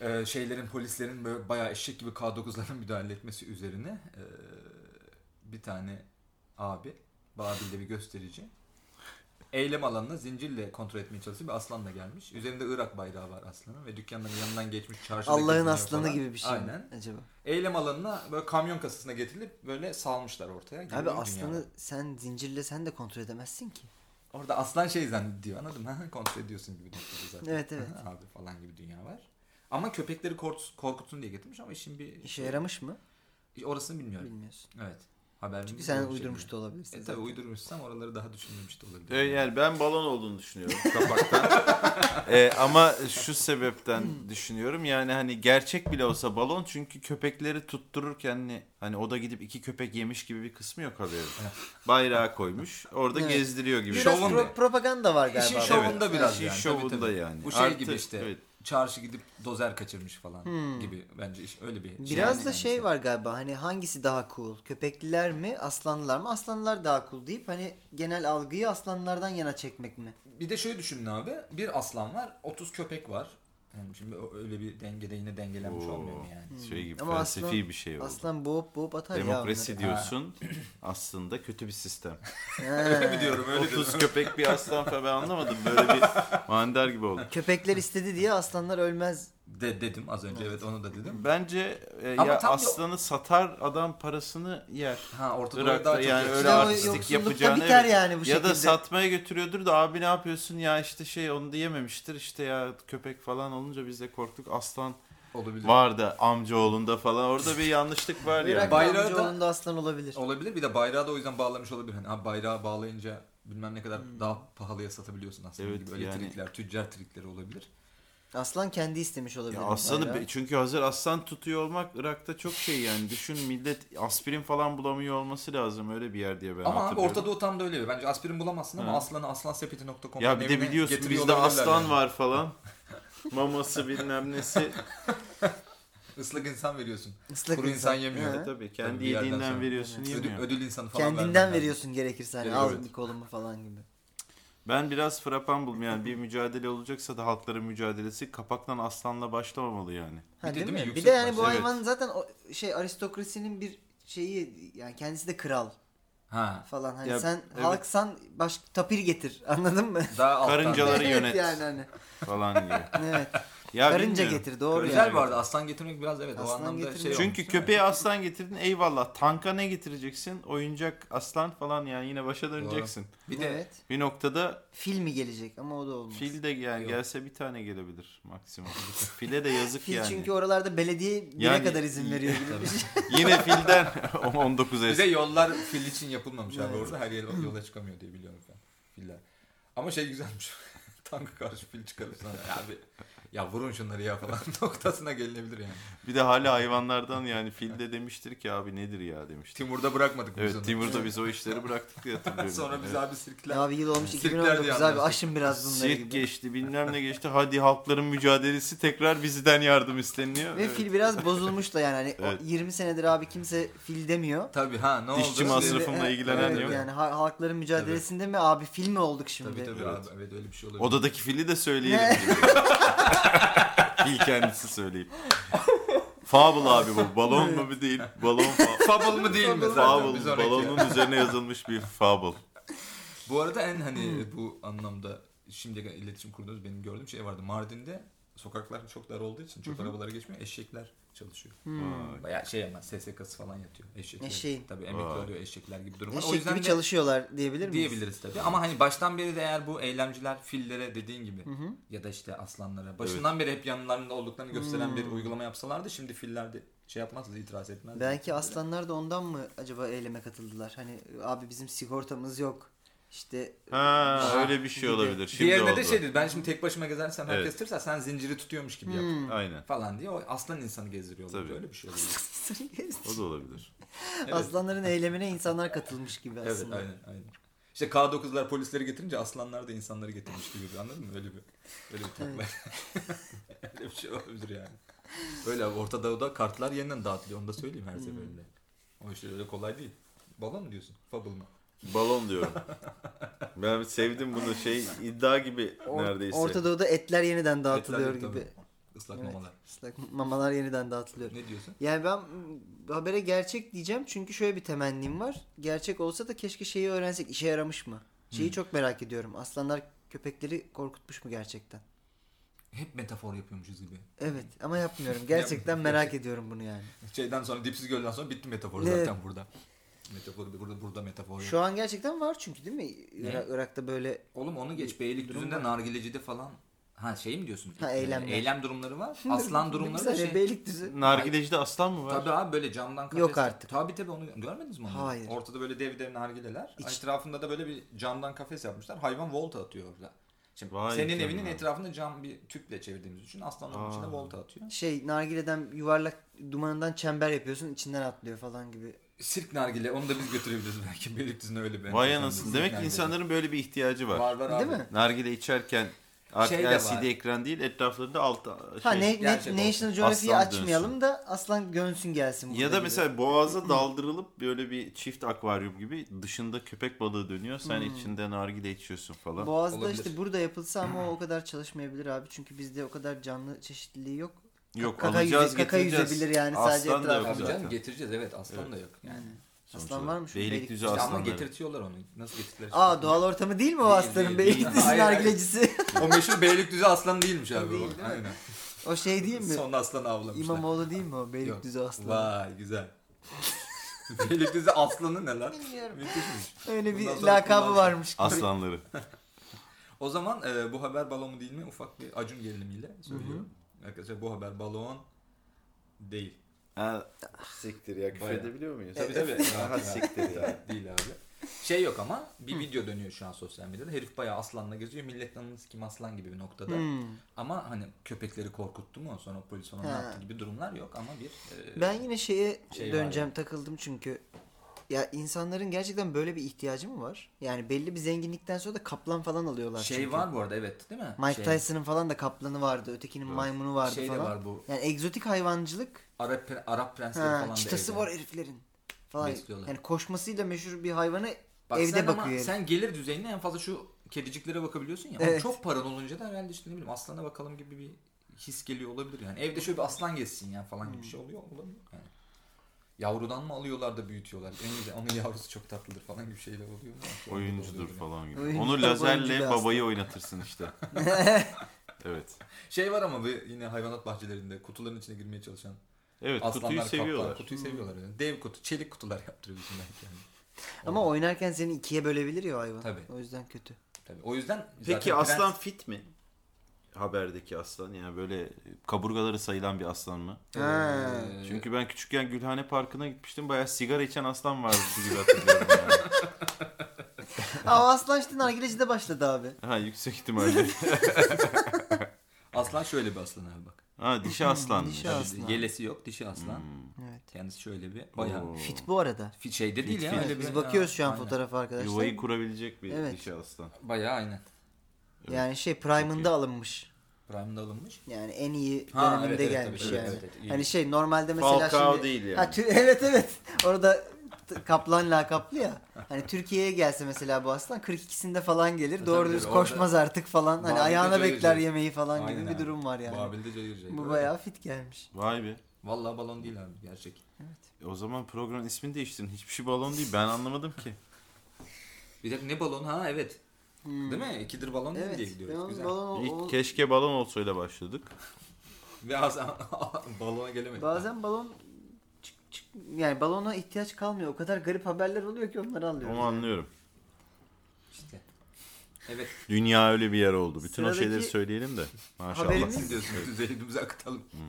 [SPEAKER 1] e, şeylerin polislerin böyle bayağı eşek gibi K9'ların müdahale etmesi üzerine e, bir tane abi Babil'de bir gösterici eylem alanını zincirle kontrol etmeye çalışıyor bir aslanla gelmiş. Üzerinde Irak bayrağı var aslanın ve dükkanların yanından geçmiş çarşıda
[SPEAKER 2] Allah'ın
[SPEAKER 1] geziniyor
[SPEAKER 2] aslanı
[SPEAKER 1] falan.
[SPEAKER 2] gibi bir şey. mi
[SPEAKER 1] Aynen.
[SPEAKER 2] Acaba.
[SPEAKER 1] Eylem alanına böyle kamyon kasasına getirilip böyle salmışlar ortaya. Gibi
[SPEAKER 2] Abi
[SPEAKER 1] bir dünya.
[SPEAKER 2] aslanı sen zincirle sen de kontrol edemezsin ki.
[SPEAKER 1] Orada aslan şey zannediyor anladın mı? Kontrol ediyorsun gibi noktada zaten.
[SPEAKER 2] Evet, evet.
[SPEAKER 1] Abi falan gibi dünya var. Ama köpekleri korkut- korkutsun diye getirmiş ama işin bir...
[SPEAKER 2] İşe yaramış mı?
[SPEAKER 1] Orasını bilmiyorum.
[SPEAKER 2] Bilmiyorsun.
[SPEAKER 1] Evet. Haber
[SPEAKER 2] Çünkü sen uydurmuş da olabilirsin.
[SPEAKER 1] E tabi
[SPEAKER 2] zaten.
[SPEAKER 1] uydurmuşsam oraları daha düşünmemiş de olabilir.
[SPEAKER 3] E, Yani ben balon olduğunu düşünüyorum kapaktan. E, ama şu sebepten düşünüyorum yani hani gerçek bile olsa balon çünkü köpekleri tuttururken hani, hani o da gidip iki köpek yemiş gibi bir kısmı yok haberin. Bayrağı koymuş orada
[SPEAKER 2] Evet.
[SPEAKER 3] gezdiriyor gibi.
[SPEAKER 2] Biraz
[SPEAKER 1] Şovun-
[SPEAKER 2] pro- propaganda var galiba.
[SPEAKER 1] İşin
[SPEAKER 2] burada.
[SPEAKER 1] şovunda biraz
[SPEAKER 3] İşin
[SPEAKER 1] yani. Tabii,
[SPEAKER 3] şovunda
[SPEAKER 1] tabii.
[SPEAKER 3] yani.
[SPEAKER 1] Bu şey
[SPEAKER 3] Artı-
[SPEAKER 1] gibi işte.
[SPEAKER 3] evet.
[SPEAKER 1] Çarşı gidip dozer kaçırmış falan gibi bence iş öyle bir şey.
[SPEAKER 2] Hmm. Biraz
[SPEAKER 1] yani.
[SPEAKER 2] da şey var galiba hani hangisi daha cool? Köpekliler mi? Aslanlar mı? Aslanlar daha cool deyip hani genel algıyı aslanlardan yana çekmek mi?
[SPEAKER 1] Bir de şöyle düşünün abi. Bir aslan var, 30 köpek var. Yani şimdi ö- öyle bir dengede yine dengelenmiş
[SPEAKER 3] Oo.
[SPEAKER 1] olmuyor mu yani?
[SPEAKER 2] Hmm.
[SPEAKER 3] Şey gibi
[SPEAKER 2] Ama
[SPEAKER 3] felsefi
[SPEAKER 2] aslan-
[SPEAKER 3] bir şey oldu.
[SPEAKER 2] Aslan boğup boğup atar
[SPEAKER 3] Demokrasi
[SPEAKER 2] ya
[SPEAKER 3] diyorsun aslında kötü bir sistem.
[SPEAKER 2] onları. He.
[SPEAKER 1] Diyorum öyle
[SPEAKER 3] 30 köpek bir aslan falan ben anlamadım böyle bir mandar gibi oldu.
[SPEAKER 2] Köpekler istedi diye aslanlar ölmez.
[SPEAKER 1] de, dedim az önce evet onu da dedim.
[SPEAKER 3] Bence e,
[SPEAKER 1] Ama
[SPEAKER 3] ya
[SPEAKER 1] tam bir-
[SPEAKER 3] aslanı satar adam parasını yer.
[SPEAKER 1] Ha ortada
[SPEAKER 3] Irak'ta
[SPEAKER 1] daha çok
[SPEAKER 3] yani
[SPEAKER 1] yakışıyor.
[SPEAKER 3] öyle
[SPEAKER 2] İşte o
[SPEAKER 3] artistik
[SPEAKER 2] yoksullukta
[SPEAKER 3] yapacağını
[SPEAKER 2] biter
[SPEAKER 3] evet.
[SPEAKER 2] yani bu
[SPEAKER 3] ya
[SPEAKER 2] şekilde.
[SPEAKER 3] da satmaya götürüyordur da abi ne yapıyorsun ya işte şey onu da yememiştir işte ya köpek falan olunca biz de korktuk aslan
[SPEAKER 1] olabilir.
[SPEAKER 3] var da amcaoğlunda falan orada bir yanlışlık var ya.
[SPEAKER 2] Irak
[SPEAKER 3] Yani.
[SPEAKER 1] Bayrağı da-
[SPEAKER 2] amcaoğlunda aslan olabilir.
[SPEAKER 1] Olabilir. Bir de bayrağı da o yüzden bağlamış olabilir. Hani abi bayrağı bağlayınca bilmem ne
[SPEAKER 2] Hmm.
[SPEAKER 1] kadar daha pahalıya satabiliyorsun aslında.
[SPEAKER 3] Evet,
[SPEAKER 1] gibi. Öyle
[SPEAKER 3] yani-
[SPEAKER 1] trikler, tüccar trikleri olabilir.
[SPEAKER 2] Aslan kendi istemiş olabilir.
[SPEAKER 3] Ya
[SPEAKER 2] bu
[SPEAKER 3] aslanı
[SPEAKER 2] bayrağı.
[SPEAKER 3] be- çünkü hazır aslan tutuyor olmak Irak'ta çok şey yani düşün millet aspirin falan bulamıyor olması lazım öyle bir yer diye ben
[SPEAKER 1] ama abi
[SPEAKER 3] hatırlıyorum.
[SPEAKER 1] Orta Doğu tam da öyle. bir- Bence aspirin bulamazsın ama
[SPEAKER 3] Ha.
[SPEAKER 1] aslanı aslansepeti.com
[SPEAKER 3] Ya bir de biliyorsun bizde aslan var falan. Maması bilmem nesi.
[SPEAKER 1] Islak insan veriyorsun.
[SPEAKER 2] Islak
[SPEAKER 1] Kuru insan yemiyor.
[SPEAKER 2] Hı.
[SPEAKER 1] Evet.
[SPEAKER 3] Tabii kendi
[SPEAKER 1] Tabii bir yerden
[SPEAKER 3] yediğinden
[SPEAKER 1] sonra.
[SPEAKER 3] veriyorsun
[SPEAKER 1] Ödül,
[SPEAKER 3] yemiyor.
[SPEAKER 1] ödül insanı falan vermen
[SPEAKER 2] Kendinden
[SPEAKER 1] lazım.
[SPEAKER 2] veriyorsun gerekirse hani
[SPEAKER 1] Evet,
[SPEAKER 2] al
[SPEAKER 1] evet.
[SPEAKER 2] bir kolumu falan gibi.
[SPEAKER 3] Ben biraz frapan buldum yani bir mücadele olacaksa da halkların mücadelesi kapaktan aslanla başlamamalı yani.
[SPEAKER 2] Ha,
[SPEAKER 1] Bir de
[SPEAKER 2] değil,
[SPEAKER 1] değil mi?
[SPEAKER 2] mi? Bir
[SPEAKER 1] Yüksek
[SPEAKER 2] de yani bu
[SPEAKER 3] baş-
[SPEAKER 2] hayvan zaten o şey aristokrasinin bir şeyi yani kendisi de kral
[SPEAKER 1] Ha.
[SPEAKER 2] falan hani
[SPEAKER 3] Ya,
[SPEAKER 2] sen
[SPEAKER 3] evet.
[SPEAKER 2] halksan baş tapir getir anladın mı?
[SPEAKER 1] Daha alttan.
[SPEAKER 3] Karıncaları-
[SPEAKER 2] evet,
[SPEAKER 3] yönet.
[SPEAKER 2] yani hani.
[SPEAKER 3] Falan gibi.
[SPEAKER 2] Evet.
[SPEAKER 3] Ya
[SPEAKER 2] Karınca
[SPEAKER 3] bilmiyorum.
[SPEAKER 2] getir doğru
[SPEAKER 1] Güzel
[SPEAKER 2] yani.
[SPEAKER 1] vardı. Aslan getirmek biraz evet o
[SPEAKER 2] Aslan
[SPEAKER 1] anlamda
[SPEAKER 2] getirmek.
[SPEAKER 1] şey
[SPEAKER 3] Çünkü
[SPEAKER 1] olmuş, değil mi?
[SPEAKER 3] köpeğe aslan getirdin eyvallah. Tanka ne getireceksin? Oyuncak aslan falan yani yine başa döneceksin.
[SPEAKER 1] Bir de
[SPEAKER 2] evet.
[SPEAKER 3] Bir noktada
[SPEAKER 2] Fil mi gelecek ama o da olmaz. Fil,
[SPEAKER 3] fil de yani
[SPEAKER 1] Yok.
[SPEAKER 3] gelse bir tane gelebilir maksimum. File de yazık yani.
[SPEAKER 2] çünkü oralarda belediye bire
[SPEAKER 3] Yani-
[SPEAKER 2] kadar izin veriyor gibi bir şey.
[SPEAKER 3] Yine filden 19
[SPEAKER 1] Bir de
[SPEAKER 3] es.
[SPEAKER 1] yollar fil için yapılmamış abi
[SPEAKER 2] Evet.
[SPEAKER 1] orada. Her yer yola çıkamıyor diye biliyorum ben. Filler. Ama şey güzelmiş. Tanka karşı fil çıkarırsan abi ya vurun şunları ya falan noktasına gelinebilir yani.
[SPEAKER 3] Bir de hala hayvanlardan yani fil de demiştir ki abi nedir ya demiştir.
[SPEAKER 1] Timur'da bırakmadık biz
[SPEAKER 3] Evet
[SPEAKER 1] onu.
[SPEAKER 3] Timur'da biz o işleri bıraktık diye hatırlıyorum.
[SPEAKER 1] Sonra biz
[SPEAKER 3] Evet.
[SPEAKER 1] abi sirkler.
[SPEAKER 2] Abi yıl olmuş
[SPEAKER 1] Sirkler diye
[SPEAKER 2] 2019 abi
[SPEAKER 1] anlarsın.
[SPEAKER 2] aşın biraz bunları
[SPEAKER 3] Sirk
[SPEAKER 2] gibi.
[SPEAKER 3] geçti bilmem ne geçti hadi halkların mücadelesi tekrar bizden yardım isteniliyor.
[SPEAKER 2] Ve
[SPEAKER 3] Evet.
[SPEAKER 2] fil biraz bozulmuş da yani hani o
[SPEAKER 3] Evet.
[SPEAKER 2] 20 senedir abi kimse fil demiyor.
[SPEAKER 1] Tabii ha ne oldu?
[SPEAKER 3] Dişçi
[SPEAKER 1] Biz-
[SPEAKER 3] masrafı. Sırfımla
[SPEAKER 2] Evet,
[SPEAKER 3] ilgilenen
[SPEAKER 2] evet,
[SPEAKER 3] yok.
[SPEAKER 2] Yani ha- halkların mücadelesinde mi abi fil mi olduk şimdi?
[SPEAKER 1] Tabii tabii
[SPEAKER 3] Evet.
[SPEAKER 1] abi evet öyle bir şey olabilir.
[SPEAKER 3] Odadaki fili de söyleyelim.
[SPEAKER 2] Ne?
[SPEAKER 3] Fil kendisi söyleyeyim. Fable abi bu balon mu bir değil balon fa-
[SPEAKER 1] Fable mı değil mi? Zaten biz
[SPEAKER 3] Fable
[SPEAKER 1] oraya-
[SPEAKER 3] balonun üzerine yazılmış bir fable.
[SPEAKER 1] Bu arada en hani
[SPEAKER 2] Hmm.
[SPEAKER 1] bu anlamda şimdiye kadar iletişim kurduğunuz benim gördüğüm şey vardı. Mardin'de sokaklar çok dar olduğu için çok arabalara geçmiyor. Eşekler çalışıyor.
[SPEAKER 3] Vay.
[SPEAKER 1] Bayağı şey ama SSK'sı falan yatıyor. Eşekler.
[SPEAKER 2] Hmm. Eşeğin.
[SPEAKER 1] Tabii emekli
[SPEAKER 3] Vay.
[SPEAKER 1] oluyor eşekler gibi durum. var.
[SPEAKER 2] Eşek
[SPEAKER 1] o yüzden
[SPEAKER 2] gibi
[SPEAKER 1] de
[SPEAKER 2] çalışıyorlar diyebilir miyiz?
[SPEAKER 1] diyebiliriz tabii. Ama hani baştan beri de eğer bu eylemciler fillere dediğin gibi
[SPEAKER 2] hı.
[SPEAKER 1] ya da işte aslanlara başından beri hep yanlarında olduklarını gösteren bir
[SPEAKER 2] Hmm.
[SPEAKER 1] uygulama yapsalardı şimdi filler de şey yapmazdı itiraz etmezdi.
[SPEAKER 2] Belki aslanlar da ondan mı acaba eyleme katıldılar? Hani abi bizim sigortamız yok. İşte
[SPEAKER 3] Ha
[SPEAKER 2] Ah,
[SPEAKER 3] öyle bir şey
[SPEAKER 2] bir de-
[SPEAKER 3] olabilir. Şimdi
[SPEAKER 1] Diğerinde
[SPEAKER 3] oldu.
[SPEAKER 1] de şey şeydi ben şimdi tek başıma gezersem herkes
[SPEAKER 3] Evet.
[SPEAKER 1] tırsa sen zinciri tutuyormuş
[SPEAKER 2] Hmm.
[SPEAKER 1] gibi yap.
[SPEAKER 3] Aynen.
[SPEAKER 1] falan diye o aslan insanı gezdiriyor.
[SPEAKER 3] Tabii.
[SPEAKER 1] Öyle bir şey oluyor.
[SPEAKER 3] O da olabilir.
[SPEAKER 1] Evet.
[SPEAKER 2] aslanların eylemine insanlar katılmış gibi
[SPEAKER 1] evet
[SPEAKER 2] aslında.
[SPEAKER 1] aynen aynen. İşte K9'lar polisleri getirince aslanlar da insanları getirmiş gibi bir anladın mı? Öyle bir öyle bir takla. öyle bir şey olabilir yani. Öyle abi, Orta Doğu'da kartlar yeniden dağıtılıyor. Onu da söyleyeyim her seferinde. O işler öyle kolay değil. Balon mu diyorsun? Fable mı?
[SPEAKER 3] Balon diyorum. Ben sevdim bunu şey iddia gibi
[SPEAKER 2] Or-
[SPEAKER 3] neredeyse.
[SPEAKER 2] Orta Doğu'da etler yeniden dağıtılıyor
[SPEAKER 1] Etler yok
[SPEAKER 2] gibi.
[SPEAKER 1] Islak
[SPEAKER 2] Evet.
[SPEAKER 1] mamalar.
[SPEAKER 2] Islak mamalar yeniden dağıtılıyor.
[SPEAKER 1] Ne diyorsun?
[SPEAKER 2] Yani ben bu habere gerçek diyeceğim çünkü şöyle bir temennim var. Gerçek olsa da keşke şeyi öğrensek işe yaramış mı? Şeyi
[SPEAKER 1] Hmm.
[SPEAKER 2] çok merak ediyorum. Aslanlar köpekleri korkutmuş mu gerçekten?
[SPEAKER 1] Hep metafor yapıyormuşuz gibi.
[SPEAKER 2] Evet ama yapmıyorum. Gerçekten merak ediyorum bunu yani.
[SPEAKER 1] Şeyden sonra dipsiz gölden sonra bitti metafor
[SPEAKER 2] Evet.
[SPEAKER 1] zaten burada. Metafor burada burada metafor. yok.
[SPEAKER 2] Şu an gerçekten var çünkü değil mi?
[SPEAKER 1] Ne?
[SPEAKER 2] Irak- Irak'ta böyle
[SPEAKER 1] Oğlum onu geç Beylikdüzü'nde nargilecide falan ha şey mi diyorsun?
[SPEAKER 2] Ha,
[SPEAKER 1] Ee,
[SPEAKER 2] eylemler.
[SPEAKER 1] Eylem durumları var. Aslan durumları da
[SPEAKER 2] Mesela
[SPEAKER 1] şey.
[SPEAKER 2] Beylikdüzü.
[SPEAKER 3] Nargilecide aslan mı var?
[SPEAKER 1] Tabii abi böyle camdan kafes.
[SPEAKER 2] Yok artık.
[SPEAKER 1] Tabii tabii onu görmediniz mi onu?
[SPEAKER 2] Hayır.
[SPEAKER 1] Ortada böyle dev dev nargileler.
[SPEAKER 2] İç-
[SPEAKER 1] Etrafında da böyle bir camdan kafes yapmışlar. Hayvan volta atıyor orada. Şimdi
[SPEAKER 3] Vay
[SPEAKER 1] senin
[SPEAKER 3] canına.
[SPEAKER 1] evinin etrafında cam bir tüple çevirdiğimiz için aslan onun
[SPEAKER 3] Aa.
[SPEAKER 1] içine volta atıyor.
[SPEAKER 2] Şey nargileden yuvarlak dumanından çember yapıyorsun içinden atlıyor falan gibi.
[SPEAKER 1] Sirk nargile onu da biz götürebiliriz belki. Beylikdüzü'ne öyle bir.
[SPEAKER 3] Vay
[SPEAKER 1] enteresan
[SPEAKER 3] anasını.
[SPEAKER 1] bir
[SPEAKER 3] Demek ki
[SPEAKER 1] nargile.
[SPEAKER 3] insanların böyle bir ihtiyacı var.
[SPEAKER 1] var var abi.
[SPEAKER 2] Değil mi?
[SPEAKER 3] Nargile içerken artık
[SPEAKER 1] Şey de var.
[SPEAKER 3] LCD ekran değil etraflarında alt şey,
[SPEAKER 2] Ha ne, ne,
[SPEAKER 1] gerçek
[SPEAKER 2] National Geographic'i
[SPEAKER 3] Aslan
[SPEAKER 2] açmayalım da aslan gönsün gelsin burada.
[SPEAKER 3] ya da
[SPEAKER 2] gibi.
[SPEAKER 3] mesela boğaza daldırılıp böyle bir çift akvaryum gibi dışında köpek balığı dönüyor. Sen içinde nargile içiyorsun falan.
[SPEAKER 2] Boğaz'da
[SPEAKER 1] Olabilir.
[SPEAKER 2] işte burada yapılsa ama o kadar çalışmayabilir abi. Çünkü bizde o kadar canlı çeşitliliği yok.
[SPEAKER 3] Yok
[SPEAKER 2] Kaka
[SPEAKER 3] alacağız
[SPEAKER 2] yüze- kaka
[SPEAKER 3] getireceğiz.
[SPEAKER 2] yüzebilir yani sadece
[SPEAKER 3] Aslan da yok
[SPEAKER 1] Tabii
[SPEAKER 2] etrafında.
[SPEAKER 3] zaten.
[SPEAKER 1] canım getireceğiz evet aslan da yok yani.
[SPEAKER 3] Sonuçta
[SPEAKER 2] aslan var mı şu
[SPEAKER 3] Beylikdüzü
[SPEAKER 1] İşte ama
[SPEAKER 3] aslanları.
[SPEAKER 1] getirtiyorlar onu. Nasıl getirtiler?
[SPEAKER 2] Aa doğal ortamı değil mi o
[SPEAKER 1] Değil,
[SPEAKER 2] aslanın?
[SPEAKER 1] değil,
[SPEAKER 2] Beylikdüzü
[SPEAKER 1] değil.
[SPEAKER 2] nargilecisi.
[SPEAKER 1] o meşhur Beylikdüzü aslanı değilmiş abi.
[SPEAKER 2] Değil,
[SPEAKER 1] o.
[SPEAKER 2] değil mi?
[SPEAKER 1] Aynen.
[SPEAKER 2] o şey değil mi?
[SPEAKER 1] Son aslanı avlamışlar.
[SPEAKER 2] İmamoğlu değil mi o?
[SPEAKER 1] Yok.
[SPEAKER 2] Beylikdüzü aslanı.
[SPEAKER 1] Vay güzel. Beylikdüzü aslanı ne lan?
[SPEAKER 2] Bilmiyorum.
[SPEAKER 1] Müthişmiş.
[SPEAKER 2] Öyle bir
[SPEAKER 1] Bundan sonra
[SPEAKER 2] lakabı
[SPEAKER 1] kullanacağım.
[SPEAKER 2] varmış. gibi.
[SPEAKER 3] Aslanları.
[SPEAKER 1] O zaman e, bu haber balon mu değil mi? Ufak bir acun gerilimiyle söylüyorum. Arkadaşlar bu haber balon değil.
[SPEAKER 3] Ha, siktir ya küfür
[SPEAKER 1] Bayağı.
[SPEAKER 3] edebiliyor
[SPEAKER 2] E,
[SPEAKER 3] muyuz?
[SPEAKER 1] Tabii tabii.
[SPEAKER 3] Ha siktir ya.
[SPEAKER 1] değil abi. Şey yok ama bir video dönüyor şu an sosyal medyada. Herif bayağı aslanla geziyor. Millet anınız kim aslan gibi bir noktada.
[SPEAKER 2] Hmm.
[SPEAKER 1] Ama hani köpekleri korkuttu mu sonra polis ona ne
[SPEAKER 2] Ha.
[SPEAKER 1] yaptı gibi durumlar yok ama bir e,
[SPEAKER 2] Ben yine şeye
[SPEAKER 1] Şey var
[SPEAKER 2] döneceğim takıldım çünkü. Ya insanların gerçekten böyle bir ihtiyacı mı var? Yani belli bir zenginlikten sonra da kaplan falan alıyorlar.
[SPEAKER 1] şey
[SPEAKER 2] çünkü.
[SPEAKER 1] var bu arada evet değil mi?
[SPEAKER 2] Mike
[SPEAKER 1] şey,
[SPEAKER 2] Tyson'ın falan da kaplanı vardı. Ötekinin maymunu vardı
[SPEAKER 1] şey de
[SPEAKER 2] falan.
[SPEAKER 1] var bu
[SPEAKER 2] Yani egzotik hayvancılık.
[SPEAKER 1] Arap pre- Arap prensleri
[SPEAKER 2] Ha,
[SPEAKER 1] falan da
[SPEAKER 2] çıtası
[SPEAKER 1] evde.
[SPEAKER 2] var heriflerin. Falan.
[SPEAKER 1] Besliyorlar.
[SPEAKER 2] Yani koşmasıyla meşhur bir hayvana
[SPEAKER 1] Bak
[SPEAKER 2] evde
[SPEAKER 1] sen
[SPEAKER 2] bakıyor
[SPEAKER 1] ama
[SPEAKER 2] herif.
[SPEAKER 1] sen gelir düzeyine en fazla şu kediciklere bakabiliyorsun ya.
[SPEAKER 2] Evet.
[SPEAKER 1] Çok paran olunca da herhalde işte ne bileyim aslana bakalım gibi bir his geliyor olabilir yani. Evde şöyle bir aslan gezsin ya falan gibi bir şey
[SPEAKER 2] Hmm.
[SPEAKER 1] oluyor olabilir yani. Yavrudan mı alıyorlar da büyütüyorlar? En güzel onun yavrusu çok tatlıdır falan gibi şeyler oluyor. mu? Şey
[SPEAKER 3] Oyuncudur
[SPEAKER 1] oluyor.
[SPEAKER 3] falan gibi.
[SPEAKER 2] Oyuncu-
[SPEAKER 3] Onu
[SPEAKER 2] oyuncu bir
[SPEAKER 3] lazerle
[SPEAKER 2] aslan.
[SPEAKER 3] babayı oynatırsın işte. evet.
[SPEAKER 1] Şey var ama bir yine hayvanat bahçelerinde kutuların içine girmeye çalışan
[SPEAKER 3] Evet
[SPEAKER 1] aslanlar,
[SPEAKER 3] kutuyu
[SPEAKER 1] kaplan,
[SPEAKER 3] seviyorlar.
[SPEAKER 1] kutuyu seviyorlar. Yani. Dev kutu, çelik kutular yaptırıyorsun belki yani.
[SPEAKER 2] Ama oynarken seni ikiye bölebilir ya o hayvan.
[SPEAKER 1] Tabii.
[SPEAKER 2] O yüzden kötü.
[SPEAKER 1] Tabii. O yüzden
[SPEAKER 3] Peki
[SPEAKER 1] zaten
[SPEAKER 3] aslan
[SPEAKER 1] prens-
[SPEAKER 3] fit mi? Haberdeki aslan yani böyle kaburgaları sayılan bir aslan mı?
[SPEAKER 2] Ha.
[SPEAKER 1] Ee,
[SPEAKER 3] Çünkü ben küçükken Gülhane Parkı'na gitmiştim. Bayağı sigara içen aslan vardı gibi hatırlıyorum yani.
[SPEAKER 2] Aa, o aslan işte nargilecide başladı abi.
[SPEAKER 3] Ha yüksek ihtimalle.
[SPEAKER 1] aslan şöyle bir aslan abi bak.
[SPEAKER 3] Ha dişi aslan.
[SPEAKER 2] Dişi
[SPEAKER 1] Tabii
[SPEAKER 2] aslan.
[SPEAKER 1] Yelesi yok, dişi aslan.
[SPEAKER 2] Evet.
[SPEAKER 1] Kendisi şöyle bir bayağı
[SPEAKER 3] Oo.
[SPEAKER 2] Fit bu arada.
[SPEAKER 1] Fi- şeyde değil
[SPEAKER 3] Fit,
[SPEAKER 1] ya.
[SPEAKER 3] fit.
[SPEAKER 1] öyle
[SPEAKER 2] Evet,
[SPEAKER 1] bir-
[SPEAKER 2] biz bakıyoruz
[SPEAKER 1] Aa,
[SPEAKER 2] şu an
[SPEAKER 1] aynen.
[SPEAKER 2] fotoğrafı arkadaşlar.
[SPEAKER 3] Yuvayı kurabilecek bir
[SPEAKER 2] Evet.
[SPEAKER 3] dişi aslan.
[SPEAKER 1] Bayağı aynen.
[SPEAKER 2] Yani şey prime'ında
[SPEAKER 3] Çok
[SPEAKER 2] alınmış.
[SPEAKER 1] Prime'da alınmış.
[SPEAKER 2] Yani en iyi
[SPEAKER 1] Ha,
[SPEAKER 2] döneminde
[SPEAKER 1] evet, evet,
[SPEAKER 2] gelmiş
[SPEAKER 1] tabii,
[SPEAKER 2] yani.
[SPEAKER 1] evet, evet, iyi.
[SPEAKER 2] hani şey normalde mesela
[SPEAKER 3] Falcao
[SPEAKER 2] şimdi
[SPEAKER 3] değil yani.
[SPEAKER 2] Ha, tü- evet evet. Orada t- kaplan lakaplı ya. Hani Türkiye'ye gelse mesela bu aslan 42'sinde falan gelir.
[SPEAKER 1] Tabii,
[SPEAKER 2] Doğru
[SPEAKER 1] tabii,
[SPEAKER 2] düz
[SPEAKER 1] orada-
[SPEAKER 2] koşmaz artık falan. Hani
[SPEAKER 1] Babil'de
[SPEAKER 2] ayağına
[SPEAKER 1] cayır
[SPEAKER 2] bekler
[SPEAKER 1] cayır.
[SPEAKER 2] yemeği falan gibi
[SPEAKER 1] Aynen
[SPEAKER 2] bir
[SPEAKER 1] abi.
[SPEAKER 2] durum var yani.
[SPEAKER 1] Babil'de cayır cayır.
[SPEAKER 2] Bu
[SPEAKER 1] Öyle.
[SPEAKER 2] bayağı fit gelmiş.
[SPEAKER 3] Vay be.
[SPEAKER 1] Vallahi balon değil abi gerçek.
[SPEAKER 3] O zaman programın ismini değiştirin. Hiçbir şey balon değil. Ben anlamadım ki.
[SPEAKER 1] Bir de ne balon ha evet. Değil mi? İkidir balon değil
[SPEAKER 2] Hmm. Evet.
[SPEAKER 1] diye
[SPEAKER 2] ben
[SPEAKER 1] gidiyoruz.
[SPEAKER 2] onun
[SPEAKER 1] Güzel.
[SPEAKER 2] balon- o-
[SPEAKER 3] İlk keşke balon olsayla başladık.
[SPEAKER 1] Ve aslan balona gelemedik.
[SPEAKER 2] bazen balon çık, çık, yani balona ihtiyaç kalmıyor. O kadar garip haberler oluyor ki onları alıyoruz.
[SPEAKER 3] Onu anlıyorum.
[SPEAKER 1] İşte. Evet.
[SPEAKER 3] Dünya öyle bir yer oldu. Bütün
[SPEAKER 2] Sıradaki
[SPEAKER 3] o şeyleri söyleyelim de. Maşallah.
[SPEAKER 2] haberimiz-
[SPEAKER 1] Siz diyorsunuz üzerimize akıtalım.
[SPEAKER 2] Hmm.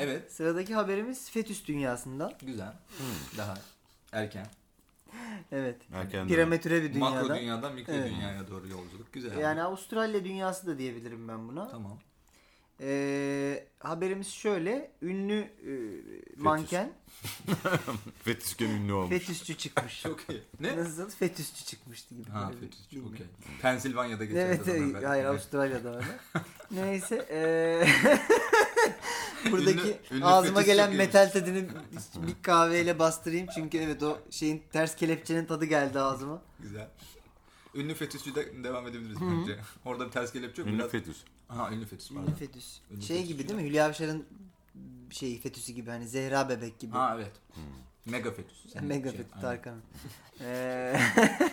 [SPEAKER 1] evet.
[SPEAKER 2] Sıradaki haberimiz Fetüs dünyasından.
[SPEAKER 1] Güzel.
[SPEAKER 2] Hmm.
[SPEAKER 1] Daha erken.
[SPEAKER 2] Evet.
[SPEAKER 3] Erken dönem.
[SPEAKER 2] Piramidüre bir dünyadan.
[SPEAKER 1] Makro dünyadan mikro
[SPEAKER 2] Evet.
[SPEAKER 1] dünyaya doğru yolculuk. Güzel. abi.
[SPEAKER 2] Yani Avustralya dünyası da diyebilirim ben buna.
[SPEAKER 1] Tamam.
[SPEAKER 2] Ee, haberimiz şöyle. Ünlü e, manken
[SPEAKER 3] Fetüs gömünlü olmuş.
[SPEAKER 2] fetüsçü çıkmış.
[SPEAKER 1] Çok iyi. Ne?
[SPEAKER 2] Nasıl? Fetüsçü çıkmıştı gibi.
[SPEAKER 1] Ha
[SPEAKER 2] böyle bir-
[SPEAKER 1] fetüsçü.
[SPEAKER 2] bilmiyorum.
[SPEAKER 1] Okey. Pensilvanya'da geçen
[SPEAKER 2] Evet,
[SPEAKER 1] kazanlar
[SPEAKER 2] evet
[SPEAKER 1] belki.
[SPEAKER 2] hayır
[SPEAKER 1] Evet.
[SPEAKER 2] Avustralya'da öyle. Neyse. eee buradaki
[SPEAKER 1] Ünlü- ünlü
[SPEAKER 2] ağzıma
[SPEAKER 1] fetüs
[SPEAKER 2] gelen
[SPEAKER 1] çakıyormuş.
[SPEAKER 2] metal tadını bir kahveyle bastırayım. Çünkü evet o şeyin ters kelepçenin tadı geldi ağzıma.
[SPEAKER 1] Güzel. Ünlü fetüsçü de devam edebiliriz bence. Orada bir ters kelepçe yok.
[SPEAKER 3] Ünlü
[SPEAKER 1] Biraz...
[SPEAKER 3] fetüs.
[SPEAKER 1] Aha ünlü fetüs
[SPEAKER 2] Ünlü
[SPEAKER 1] pardon.
[SPEAKER 2] fetüs.
[SPEAKER 1] Ünlü
[SPEAKER 2] şey
[SPEAKER 1] fetüs
[SPEAKER 2] gibi
[SPEAKER 1] ya.
[SPEAKER 2] değil mi? Hülya Avşar'ın şey fetüsü gibi hani Zehra bebek gibi.
[SPEAKER 1] Ha evet. Mega fetüs. Yani
[SPEAKER 2] Mega
[SPEAKER 1] şey,
[SPEAKER 2] fetüs
[SPEAKER 1] aynen.
[SPEAKER 2] Tarkan'ın. Eee,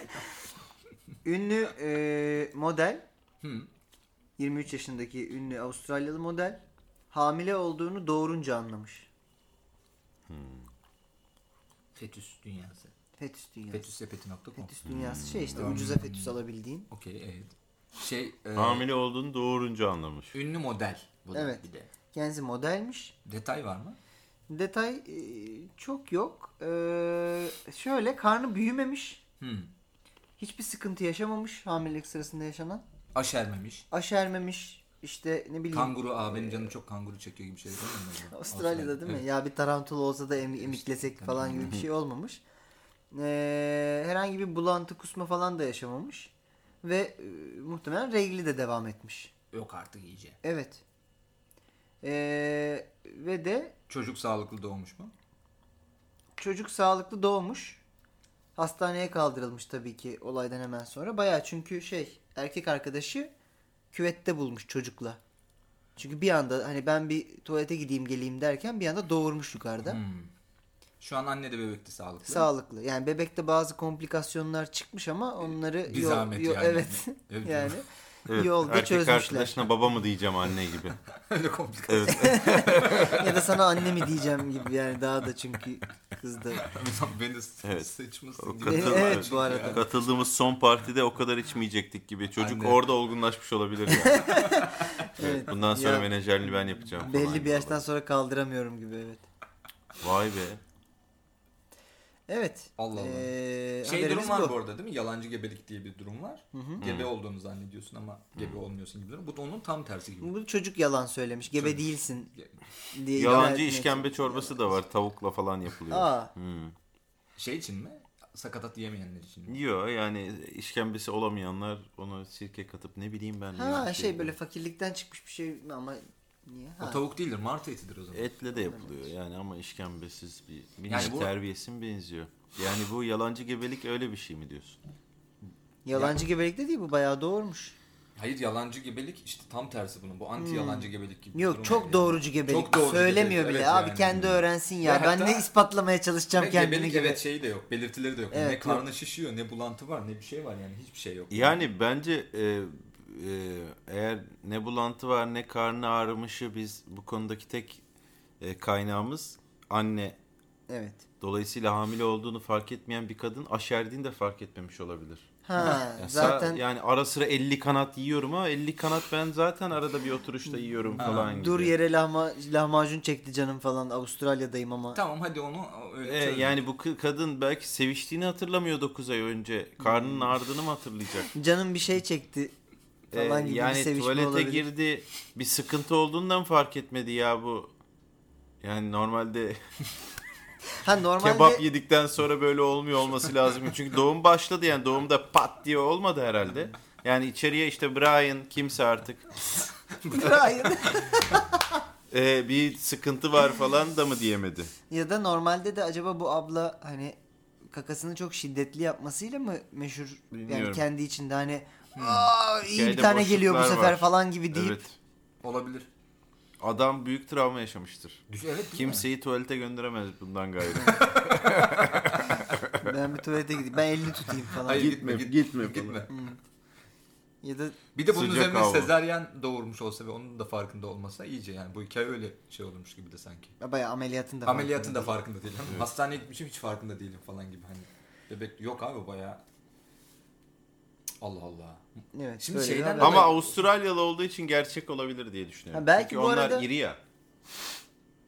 [SPEAKER 2] ünlü eee, model
[SPEAKER 1] Hı.
[SPEAKER 2] 23 yaşındaki ünlü Avustralyalı model hamile olduğunu doğurunca anlamış.
[SPEAKER 1] Fetüs dünyası.
[SPEAKER 2] Fetüs dünyası.
[SPEAKER 1] Fetüssepeti.com
[SPEAKER 2] Fetüs dünyası şey işte
[SPEAKER 1] Hmm.
[SPEAKER 2] ucuza fetüs alabildiğin.
[SPEAKER 1] Okey evet. Şey e,
[SPEAKER 3] Hamile olduğunu doğurunca anlamış.
[SPEAKER 1] ünlü model bu da
[SPEAKER 2] Evet.
[SPEAKER 1] bir de.
[SPEAKER 2] Kendisi modelmiş.
[SPEAKER 1] Detay var mı?
[SPEAKER 2] Detay e, çok yok. E, şöyle karnı büyümemiş.
[SPEAKER 1] Hmm.
[SPEAKER 2] Hiçbir sıkıntı yaşamamış hamilelik sırasında yaşanan.
[SPEAKER 1] Aşermemiş.
[SPEAKER 2] Aşermemiş işte ne bileyim.
[SPEAKER 1] Kanguru aa benim canım çok kanguru çekiyor gibi şeyler.
[SPEAKER 2] Avustralya'da değil mi? Ya bir tarantula olsa da em- emiklesek falan gibi bir şey olmamış. Ee, herhangi bir bulantı kusma falan da yaşamamış. Ve e, muhtemelen regli de devam etmiş.
[SPEAKER 1] Yok artık iyice.
[SPEAKER 2] Evet. Ee, ve de
[SPEAKER 1] Çocuk sağlıklı doğmuş mu?
[SPEAKER 2] çocuk sağlıklı doğmuş. Hastaneye kaldırılmış tabii ki olaydan hemen sonra. Bayağı çünkü şey erkek arkadaşı küvette bulmuş çocukla. Çünkü bir anda hani ben bir tuvalete gideyim geleyim derken bir anda doğurmuş yukarıda.
[SPEAKER 1] Hmm. Şu an anne de bebek de sağlıklı.
[SPEAKER 2] Sağlıklı. Yani bebekte bazı komplikasyonlar çıkmış ama onları
[SPEAKER 1] Bir zahmet yani.
[SPEAKER 2] evet
[SPEAKER 1] Evet.
[SPEAKER 2] yani
[SPEAKER 3] Evet,
[SPEAKER 2] yolda
[SPEAKER 3] erkek
[SPEAKER 2] çözmüşler.
[SPEAKER 3] arkadaşına baba mı diyeceğim anne gibi.
[SPEAKER 1] Öyle komplike.
[SPEAKER 3] Evet.
[SPEAKER 2] ya da sana anne mi diyeceğim gibi yani daha da çünkü kızda.
[SPEAKER 1] Beni
[SPEAKER 3] Evet.
[SPEAKER 1] sıçmışsın
[SPEAKER 3] O
[SPEAKER 1] gibi.
[SPEAKER 3] katıl-
[SPEAKER 2] Evet, bu arada.
[SPEAKER 3] Katıldığımız son partide o kadar içmeyecektik gibi. Çocuk
[SPEAKER 1] Anne.
[SPEAKER 3] orada olgunlaşmış olabilir yani.
[SPEAKER 2] Evet.
[SPEAKER 3] Bundan sonra
[SPEAKER 2] Ya,
[SPEAKER 3] menajerliği ben yapacağım. falan
[SPEAKER 2] belli bir
[SPEAKER 3] gibi
[SPEAKER 2] yaştan sonra kaldıramıyorum gibi evet.
[SPEAKER 3] olabilir. Vay be.
[SPEAKER 2] Evet.
[SPEAKER 1] Allah Allah.
[SPEAKER 2] Ee,
[SPEAKER 1] Şey
[SPEAKER 2] haberimiz
[SPEAKER 1] durum var
[SPEAKER 2] bu.
[SPEAKER 1] bu. arada değil mi? Yalancı gebelik diye bir durum var. Gebe olduğunu zannediyorsun ama gebe olmuyorsun gibi durum. Bu da onun tam tersi gibi.
[SPEAKER 2] Bu çocuk yalan söylemiş. Gebe
[SPEAKER 1] Çocuk.
[SPEAKER 2] değilsin
[SPEAKER 1] Ge-
[SPEAKER 2] diye.
[SPEAKER 3] Yalancı
[SPEAKER 2] iddia etmek.
[SPEAKER 3] işkembe çorbası da var. Tavukla falan yapılıyor.
[SPEAKER 2] Aa.
[SPEAKER 3] Hmm.
[SPEAKER 1] Şey için mi? Sakatat yemeyenler için mi?
[SPEAKER 3] Yok yani işkembesi olamayanlar onu sirke katıp ne bileyim ben.
[SPEAKER 2] Ha
[SPEAKER 3] yani
[SPEAKER 2] şey böyle fakirlikten çıkmış bir şey ama niye? Ha.
[SPEAKER 1] O tavuk değildir. Martı etidir o zaman.
[SPEAKER 3] Etle de yapılıyor yani ama işkembesiz bir
[SPEAKER 1] Yani
[SPEAKER 3] yani
[SPEAKER 1] bu-
[SPEAKER 3] terbiyesin benziyor. Yani bu yalancı gebelik öyle bir şey mi diyorsun?
[SPEAKER 2] Yalancı gebelik de değil bu bayağı doğurmuş.
[SPEAKER 1] Hayır yalancı gebelik işte tam tersi bunun. Bu anti yalancı gebelik gibi. bir
[SPEAKER 2] Hmm. Yok
[SPEAKER 1] durum
[SPEAKER 2] çok
[SPEAKER 1] var yani.
[SPEAKER 2] doğrucu gebelik.
[SPEAKER 1] Çok doğrucu
[SPEAKER 2] Söylemiyor
[SPEAKER 1] gebelik,
[SPEAKER 2] bile.
[SPEAKER 1] evet
[SPEAKER 2] Abi
[SPEAKER 1] yani.
[SPEAKER 2] kendi öğrensin ya.
[SPEAKER 1] Ve
[SPEAKER 2] ben
[SPEAKER 1] hatta-
[SPEAKER 2] ne ispatlamaya çalışacağım
[SPEAKER 1] Ve
[SPEAKER 2] kendimi
[SPEAKER 1] gebelik
[SPEAKER 2] gibi.
[SPEAKER 1] evet şeyi de yok. Belirtileri de yok.
[SPEAKER 2] Evet,
[SPEAKER 1] ne
[SPEAKER 2] yok.
[SPEAKER 1] karnı şişiyor, ne bulantı var, ne bir şey var yani hiçbir şey yok.
[SPEAKER 3] Yani bence e, e, eğer ne bulantı var ne karnı ağrımışı biz bu konudaki tek e, kaynağımız anne.
[SPEAKER 2] Evet.
[SPEAKER 3] Dolayısıyla hamile olduğunu fark etmeyen bir kadın aşerdiğini de fark etmemiş olabilir.
[SPEAKER 2] Ha
[SPEAKER 3] Ya sa-
[SPEAKER 2] zaten
[SPEAKER 3] yani ara sıra 50 kanat yiyorum ama 50 kanat ben zaten arada bir oturuşta yiyorum falan gibi.
[SPEAKER 2] dur yere lahma, lahmacun çekti canım falan. Avustralya'dayım ama.
[SPEAKER 1] Tamam hadi onu öyle
[SPEAKER 3] E,
[SPEAKER 1] çöz.
[SPEAKER 3] yani bu kı- kadın belki seviştiğini hatırlamıyor 9 ay önce.
[SPEAKER 2] Hmm.
[SPEAKER 3] Karnının ağrıdığını mı hatırlayacak?
[SPEAKER 2] Canım bir şey çekti.
[SPEAKER 1] Ee,
[SPEAKER 3] E,
[SPEAKER 2] Falan gibi bir
[SPEAKER 3] yani
[SPEAKER 2] sevişme
[SPEAKER 3] tuvalete
[SPEAKER 2] olabilir.
[SPEAKER 3] girdi. Bir sıkıntı olduğundan fark etmedi ya bu. Yani normalde
[SPEAKER 2] Ha normalde
[SPEAKER 3] kebap yedikten sonra böyle olmuyor olması lazım. Çünkü doğum başladı yani doğumda pat diye olmadı herhalde. Yani içeriye işte Brian kimse artık
[SPEAKER 2] Hayır.
[SPEAKER 3] e, bir sıkıntı var falan da mı diyemedi.
[SPEAKER 2] ya da normalde de acaba bu abla hani kakasını çok şiddetli yapmasıyla mı meşhur yani
[SPEAKER 3] Bilmiyorum.
[SPEAKER 2] kendi içinde hani Aa, iyi bir
[SPEAKER 3] Hikayede
[SPEAKER 2] tane geliyor bu
[SPEAKER 3] boşluklar
[SPEAKER 2] sefer
[SPEAKER 3] var."
[SPEAKER 2] falan gibi deyip
[SPEAKER 3] Evet.
[SPEAKER 1] Olabilir.
[SPEAKER 3] Adam büyük travma yaşamıştır.
[SPEAKER 1] Düş- Evet. değil mi?
[SPEAKER 3] Kimseyi tuvalete gönderemez bundan gayrı.
[SPEAKER 2] ben bir tuvalete gideyim ben elini tutayım falan.
[SPEAKER 1] Hayır gitme
[SPEAKER 3] Gitme,
[SPEAKER 1] git-
[SPEAKER 3] gitme
[SPEAKER 1] gitme.
[SPEAKER 2] Ya da
[SPEAKER 1] Bir de bunun
[SPEAKER 3] Sıcak
[SPEAKER 1] üzerine
[SPEAKER 3] hava.
[SPEAKER 1] sezaryen doğurmuş olsa ve onun da farkında olmasa iyice yani bu hikaye öyle şey olmuş gibi de sanki.
[SPEAKER 2] Ya Bayağı ameliyatın da
[SPEAKER 1] Ameliyatın da
[SPEAKER 2] farkında.
[SPEAKER 1] farkında değilim. Hastaneye gitmişim hiç farkında değilim falan gibi hani. Bebek yok abi baya. Allah Allah.
[SPEAKER 2] Evet.
[SPEAKER 1] Şimdi
[SPEAKER 2] böyle bir
[SPEAKER 1] şeyden-
[SPEAKER 2] haber.
[SPEAKER 3] Ama Avustralyalı olduğu için gerçek olabilir diye düşünüyorum.
[SPEAKER 2] Ha, belki
[SPEAKER 3] Çünkü
[SPEAKER 2] bu
[SPEAKER 3] onlar
[SPEAKER 2] arada-
[SPEAKER 3] iri ya.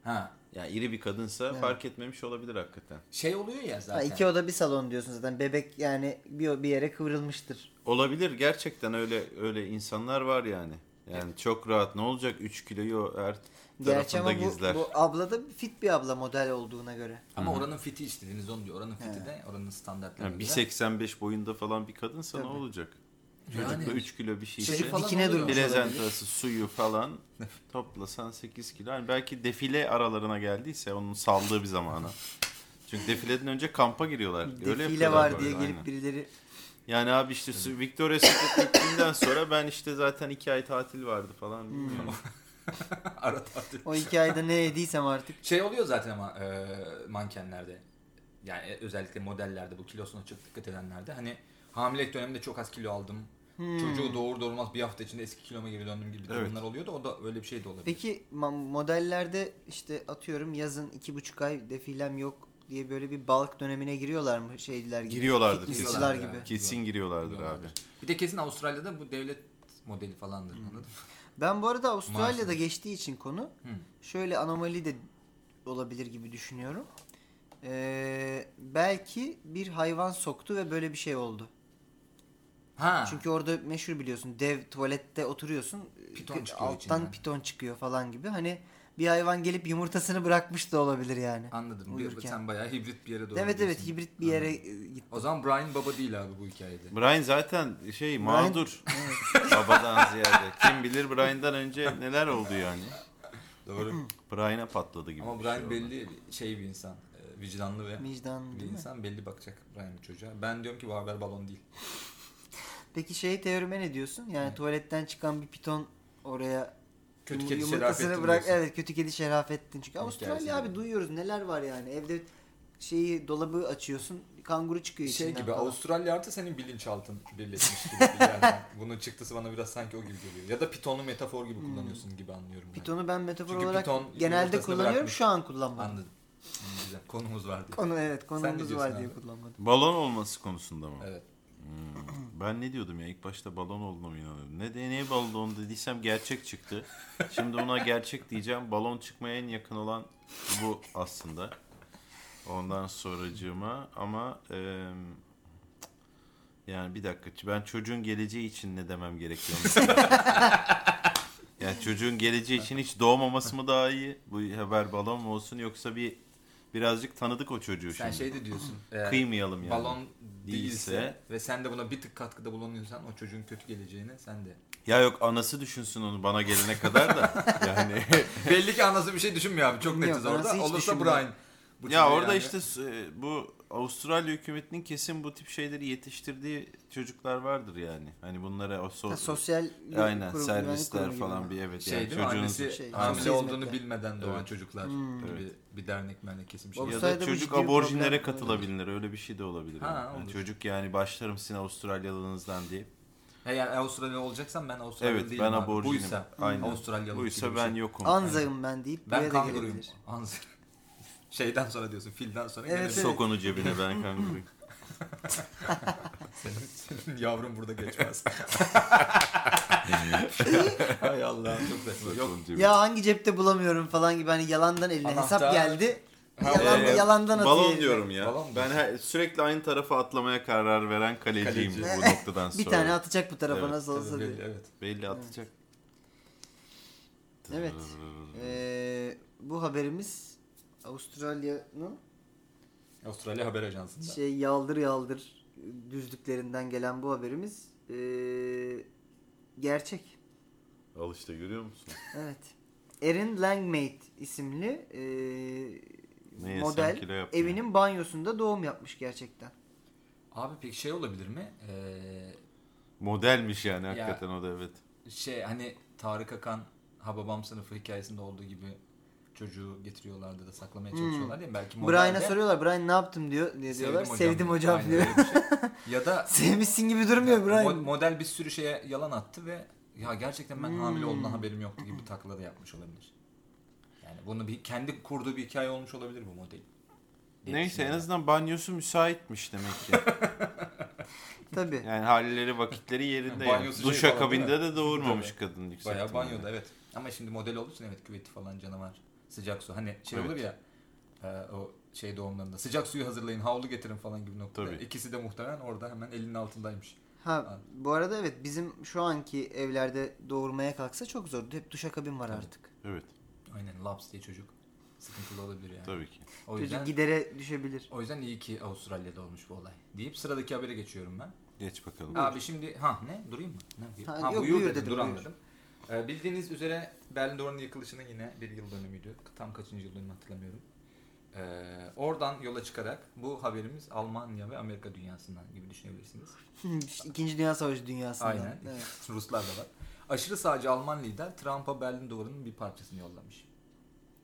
[SPEAKER 1] Ha.
[SPEAKER 3] Yani iri bir kadınsa fark etmemiş olabilir hakikaten.
[SPEAKER 1] Şey oluyor ya zaten.
[SPEAKER 2] ha, iki oda bir salon diyorsun zaten. Bebek yani bir, bir yere kıvrılmıştır.
[SPEAKER 3] Olabilir gerçekten öyle öyle insanlar var yani. Yani çok rahat ne olacak 3 kiloyu her
[SPEAKER 2] Gerçi
[SPEAKER 3] tarafında
[SPEAKER 2] ama bu,
[SPEAKER 3] gizler.
[SPEAKER 2] bu abla da fit bir abla model olduğuna göre.
[SPEAKER 1] Ama oranın fiti istediğiniz onu diyor. Oranın fiti de oranın standartları.
[SPEAKER 3] Yani 1.85 boyunda falan bir kadınsa ne
[SPEAKER 2] Tabii.
[SPEAKER 3] olacak?
[SPEAKER 1] Yani.
[SPEAKER 3] Çocukla 3 kilo bir şey
[SPEAKER 1] Çocuk
[SPEAKER 3] ise
[SPEAKER 1] falan
[SPEAKER 2] Dikine
[SPEAKER 1] oluyor.
[SPEAKER 2] durmuş olabilir.
[SPEAKER 3] prezentası, suyu falan toplasan 8 kilo. Yani belki defile aralarına geldiyse onun saldığı bir zamana. Çünkü defileden önce kampa giriyorlar. Öyle
[SPEAKER 2] Defile
[SPEAKER 3] yapıyorlar
[SPEAKER 2] var
[SPEAKER 3] bu
[SPEAKER 2] diye
[SPEAKER 3] arada,
[SPEAKER 2] gelip
[SPEAKER 3] aynen.
[SPEAKER 2] birileri
[SPEAKER 3] Yani abi işte su- Victoria's Secret gittiğimden sonra ben işte zaten 2 ay tatil vardı falan. bilmiyorum.
[SPEAKER 1] Ara tatil.
[SPEAKER 2] o hikayede ne yediysem artık.
[SPEAKER 1] Şey oluyor zaten ama e, mankenlerde. Yani e, özellikle modellerde bu kilosuna çok dikkat edenlerde. Hani hamilelik döneminde çok az kilo aldım.
[SPEAKER 2] hmm."
[SPEAKER 1] Çocuğu doğur doğurmaz bir hafta içinde eski kiloma geri döndüm gibi
[SPEAKER 3] Evet.
[SPEAKER 1] durumlar oluyor da o da öyle bir şey de olabilir.
[SPEAKER 2] Peki ma- modellerde işte atıyorum yazın iki buçuk ay defilem yok diye böyle bir balık dönemine giriyorlar mı şeyler gibi?
[SPEAKER 3] Giriyorlardır kesin.
[SPEAKER 2] Fitnessçiler gibi.
[SPEAKER 3] Kesin giriyorlardır abi.
[SPEAKER 1] Bir de kesin Avustralya'da bu devlet modeli falandır
[SPEAKER 2] Hmm.
[SPEAKER 1] anladın mı?
[SPEAKER 2] Ben bu arada Avustralya'da
[SPEAKER 1] Maaşlı.
[SPEAKER 2] geçtiği için konu
[SPEAKER 1] Hı.
[SPEAKER 2] şöyle anomali de olabilir gibi düşünüyorum. Ee, belki bir hayvan soktu ve böyle bir şey oldu.
[SPEAKER 1] Ha. Çünkü
[SPEAKER 2] Çünkü orada meşhur biliyorsun dev tuvalette oturuyorsun.
[SPEAKER 1] Piton
[SPEAKER 2] gö-
[SPEAKER 1] çıkıyor
[SPEAKER 2] Alttan
[SPEAKER 1] içinden.
[SPEAKER 2] piton çıkıyor falan gibi. Hani bir hayvan gelip yumurtasını bırakmış da olabilir yani.
[SPEAKER 1] anladım. Bir,
[SPEAKER 2] Uyurken.
[SPEAKER 1] sen bayağı hibrit bir yere doğru
[SPEAKER 2] evet evet
[SPEAKER 1] gidiyorsun.
[SPEAKER 2] hibrit bir yere e,
[SPEAKER 1] O
[SPEAKER 2] gitti.
[SPEAKER 1] zaman Brian baba değil abi bu hikayede.
[SPEAKER 3] Brian zaten şey mağdur. Babadan ziyade. Kim bilir Brian'dan önce neler oldu yani.
[SPEAKER 1] Doğru.
[SPEAKER 3] Brian'a patladı gibi.
[SPEAKER 1] Ama
[SPEAKER 3] bir
[SPEAKER 1] Brian
[SPEAKER 3] şey oldu.
[SPEAKER 1] belli bir- şey bir insan. Ee, Vicdanlı ve
[SPEAKER 2] Vicdan
[SPEAKER 1] bir
[SPEAKER 2] değil mi?
[SPEAKER 1] insan belli bakacak Brian bu çocuğa. Ben diyorum ki bu haber balon değil.
[SPEAKER 2] Peki şey teorime ne diyorsun? Yani tuvaletten çıkan bir piton oraya
[SPEAKER 1] Kötü
[SPEAKER 2] yum-
[SPEAKER 1] kedi
[SPEAKER 2] yumurtasını
[SPEAKER 1] Şerafettin
[SPEAKER 2] bırak.
[SPEAKER 1] diyorsun.
[SPEAKER 2] Evet kötü kedi şerafettin. Çünkü
[SPEAKER 1] Hikayesi
[SPEAKER 2] Avustralya
[SPEAKER 1] de
[SPEAKER 2] abi
[SPEAKER 1] var.
[SPEAKER 2] duyuyoruz neler var yani. Evde şeyi dolabı açıyorsun kanguru çıkıyor
[SPEAKER 1] Şey
[SPEAKER 2] içinden
[SPEAKER 1] gibi
[SPEAKER 2] falan.
[SPEAKER 1] Avustralya artı senin bilinçaltın birleşmiş gibi bir yerden. Bunun çıktısı bana biraz sanki o gibi geliyor. Ya da pitonu metafor gibi
[SPEAKER 2] Hmm.
[SPEAKER 1] kullanıyorsun gibi anlıyorum. ben.
[SPEAKER 2] Pitonu ben metafor
[SPEAKER 1] Çünkü
[SPEAKER 2] olarak
[SPEAKER 1] piton
[SPEAKER 2] genelde
[SPEAKER 1] yumurtasını
[SPEAKER 2] kullanıyorum
[SPEAKER 1] bırakmış.
[SPEAKER 2] şu an kullanmadım.
[SPEAKER 1] Anladım. Hmm, Güzel. Konumuz var diye.
[SPEAKER 2] Konu evet konumuz
[SPEAKER 1] diyorsun
[SPEAKER 2] var
[SPEAKER 1] abi?
[SPEAKER 2] diye kullanmadım.
[SPEAKER 3] Balon olması konusunda mı?
[SPEAKER 1] Evet.
[SPEAKER 3] Ben ne diyordum ya ilk başta balon olduğuna mı inanıyordum? Ne de neye balon dediysem gerçek çıktı. Şimdi ona gerçek diyeceğim. Balon çıkmaya en yakın olan bu aslında. Ondan sonracığıma ama eee, yani bir dakika ben çocuğun geleceği için ne demem gerekiyor? yani çocuğun geleceği için hiç doğmaması mı daha iyi? Bu haber balon mu olsun yoksa bir birazcık tanıdık o çocuğu
[SPEAKER 1] Sen
[SPEAKER 3] şimdi.
[SPEAKER 1] şey de diyorsun. eğer
[SPEAKER 3] Kıymayalım yani.
[SPEAKER 1] Balon değilse,
[SPEAKER 3] Değilse-
[SPEAKER 1] ve sen de buna bir tık katkıda bulunuyorsan o çocuğun kötü geleceğini sen de.
[SPEAKER 3] Ya yok anası düşünsün onu bana gelene kadar da. yani
[SPEAKER 1] Belli ki anası bir şey düşünmüyor abi. Çok
[SPEAKER 2] Yok,
[SPEAKER 1] netiz
[SPEAKER 2] anası
[SPEAKER 1] orada.
[SPEAKER 2] hiç
[SPEAKER 1] Olursa
[SPEAKER 2] düşünmüyor.
[SPEAKER 1] Brian. Bu
[SPEAKER 3] ya
[SPEAKER 1] çocuğu
[SPEAKER 3] orada
[SPEAKER 1] yani-
[SPEAKER 3] işte s- e, bu Avustralya hükümetinin kesin bu tip şeyleri yetiştirdiği çocuklar vardır yani. Hani bunlara o so-
[SPEAKER 2] Ha, sosyal
[SPEAKER 3] aynen
[SPEAKER 2] kurum-
[SPEAKER 3] servisler
[SPEAKER 2] güvenlik kurumu
[SPEAKER 3] falan
[SPEAKER 2] gibi.
[SPEAKER 3] bir evet
[SPEAKER 1] şey
[SPEAKER 3] yani
[SPEAKER 1] değil mi?
[SPEAKER 3] çocuğunuz-
[SPEAKER 1] Annesi
[SPEAKER 2] Şey, Hmm.
[SPEAKER 1] hamile
[SPEAKER 2] sosyal
[SPEAKER 1] olduğunu
[SPEAKER 2] hizmetler.
[SPEAKER 1] bilmeden doğan
[SPEAKER 3] Evet.
[SPEAKER 1] çocuklar gibi bir dernek mernek kesim şey.
[SPEAKER 3] ya
[SPEAKER 2] Avustralya-
[SPEAKER 3] da
[SPEAKER 2] Avustralya'da bu
[SPEAKER 3] çocuk
[SPEAKER 2] ciddi bir
[SPEAKER 3] aborjinlere
[SPEAKER 2] problem.
[SPEAKER 3] katılabilir öyle bir şey de olabilir.
[SPEAKER 1] Ha,
[SPEAKER 3] yani. Yani
[SPEAKER 1] olur.
[SPEAKER 3] çocuk yani başlarım sizin Avustralyalınızdan diye.
[SPEAKER 1] Eğer Avustralya olacaksan ben Avustralya
[SPEAKER 3] Evet
[SPEAKER 1] değilim.
[SPEAKER 3] ben
[SPEAKER 1] abi.
[SPEAKER 3] aborjinim.
[SPEAKER 1] Buysa
[SPEAKER 3] Aynen.
[SPEAKER 1] Avustralyalı. gibi
[SPEAKER 3] Buysa
[SPEAKER 1] bir
[SPEAKER 3] ben
[SPEAKER 1] şey.
[SPEAKER 3] yokum.
[SPEAKER 2] Anzayım ben deyip
[SPEAKER 1] Ben
[SPEAKER 2] buraya da
[SPEAKER 1] kanguruyum.
[SPEAKER 2] gelebilir.
[SPEAKER 1] Anz- Şeyden sonra diyorsun filden sonra
[SPEAKER 2] Evet,
[SPEAKER 1] gene
[SPEAKER 2] evet.
[SPEAKER 1] bir-
[SPEAKER 3] Sok onu cebine ben kanguruyum.
[SPEAKER 1] Senin, senin yavrum burada geçmez. Hay Allah çok saçma.
[SPEAKER 3] Sok
[SPEAKER 1] Yok
[SPEAKER 3] onu cebine.
[SPEAKER 2] Ya hangi cepte bulamıyorum falan gibi hani yalandan eline hesap
[SPEAKER 1] Anahtar.
[SPEAKER 2] geldi.
[SPEAKER 1] Ha,
[SPEAKER 2] Yalan,
[SPEAKER 1] ee,
[SPEAKER 2] yalandan atıyor.
[SPEAKER 3] Balon
[SPEAKER 2] eline.
[SPEAKER 3] diyorum ya.
[SPEAKER 1] Balon mu?
[SPEAKER 3] ben her- sürekli aynı tarafa atlamaya karar veren kaleciyim
[SPEAKER 1] Kaleci.
[SPEAKER 3] bu noktadan sonra.
[SPEAKER 2] Bir tane atacak bu tarafa
[SPEAKER 3] Evet,
[SPEAKER 2] nasıl olsa diye.
[SPEAKER 1] belli, evet.
[SPEAKER 3] Belli atacak.
[SPEAKER 2] Evet. Ee, bu haberimiz Avustralya'nın
[SPEAKER 1] Avustralya Haber Ajansı'nda.
[SPEAKER 2] şey yaldır yaldır düzlüklerinden gelen bu haberimiz ee, gerçek.
[SPEAKER 3] Al işte görüyor musun?
[SPEAKER 2] Evet. Erin Langmaid isimli ee,
[SPEAKER 3] Ne yesem
[SPEAKER 2] model
[SPEAKER 3] kilo yapmıyor.
[SPEAKER 2] evinin banyosunda doğum yapmış gerçekten.
[SPEAKER 1] Abi peki şey olabilir mi? Ee,
[SPEAKER 3] Modelmiş yani hakikaten o da evet.
[SPEAKER 1] şey hani Tarık Akan Ha Babam Sınıfı hikayesinde olduğu gibi çocuğu getiriyorlardı da saklamaya çalışıyorlar diye. Belki
[SPEAKER 2] Hmm. Brian'a
[SPEAKER 1] modelde
[SPEAKER 2] soruyorlar Brian ne yaptım diyor. Ne
[SPEAKER 1] "Sevdim
[SPEAKER 2] diyorlar? Sevdim hocam,
[SPEAKER 1] Aynen
[SPEAKER 2] diyor.
[SPEAKER 1] öyle bir şey. Ya da
[SPEAKER 2] Sevmişsin gibi durmuyor Brian.
[SPEAKER 1] mo- model bir sürü şeye yalan attı ve ya gerçekten ben hamile
[SPEAKER 2] Hmm.
[SPEAKER 1] olduğuna haberim yoktu gibi takla da yapmış olabilir. Yani bunu bir kendi kurduğu bir hikaye olmuş olabilir bu model. Diye
[SPEAKER 3] Neyse en
[SPEAKER 1] düşünüyorum.
[SPEAKER 3] azından banyosu müsaitmiş demek ki.
[SPEAKER 2] Tabii.
[SPEAKER 3] Yani halleri vakitleri yerinde.
[SPEAKER 1] Banyosu
[SPEAKER 3] yani.
[SPEAKER 1] şey
[SPEAKER 3] Duş
[SPEAKER 1] falan
[SPEAKER 3] akabinde
[SPEAKER 1] değil
[SPEAKER 3] de doğurmamış
[SPEAKER 1] Tabii.
[SPEAKER 3] kadın yüksek.
[SPEAKER 1] Bayağı
[SPEAKER 3] ihtimalle.
[SPEAKER 1] banyoda evet. Ama şimdi model olduğu için evet küveti falan canavar. Sıcak su. Hani şey
[SPEAKER 3] Evet.
[SPEAKER 1] olur ya e, o şey doğumlarında sıcak suyu hazırlayın havlu getirin falan gibi noktada.
[SPEAKER 3] Tabii.
[SPEAKER 1] İkisi de muhtemelen orada hemen elinin altındaymış.
[SPEAKER 2] Ha bu arada evet bizim şu anki evlerde doğurmaya kalksa çok zor. Hep duşakabin var artık.
[SPEAKER 3] Evet
[SPEAKER 1] Aynen laps diye çocuk. Sıkıntılı olabilir yani.
[SPEAKER 3] tabii ki.
[SPEAKER 1] O yüzden,
[SPEAKER 2] Çocuk gidere düşebilir.
[SPEAKER 1] o yüzden iyi ki Avustralya'da olmuş bu olay. Deyip sıradaki habere geçiyorum ben.
[SPEAKER 3] Geç bakalım.
[SPEAKER 1] Abi şimdi ha ne durayım mı? Ne yapayım?
[SPEAKER 2] Ha,
[SPEAKER 1] Ha,
[SPEAKER 2] yok,
[SPEAKER 1] buyur,
[SPEAKER 2] buyur
[SPEAKER 1] dedim,
[SPEAKER 2] dedim,
[SPEAKER 1] dur
[SPEAKER 2] buyur.
[SPEAKER 1] anladım. Ee, bildiğiniz üzere Berlin Duvarı'nın yıkılışının yine bir yıl dönümüydü. Tam kaçıncı yıl dönümü hatırlamıyorum. Ee, oradan yola çıkarak bu haberimiz Almanya ve Amerika dünyasından gibi düşünebilirsiniz.
[SPEAKER 2] İkinci Dünya Savaşı dünyasında.
[SPEAKER 1] Aynen.
[SPEAKER 2] Evet.
[SPEAKER 1] Ruslar da var. Aşırı sağcı Alman lider Trump'a Berlin Duvarı'nın bir parçasını yollamış.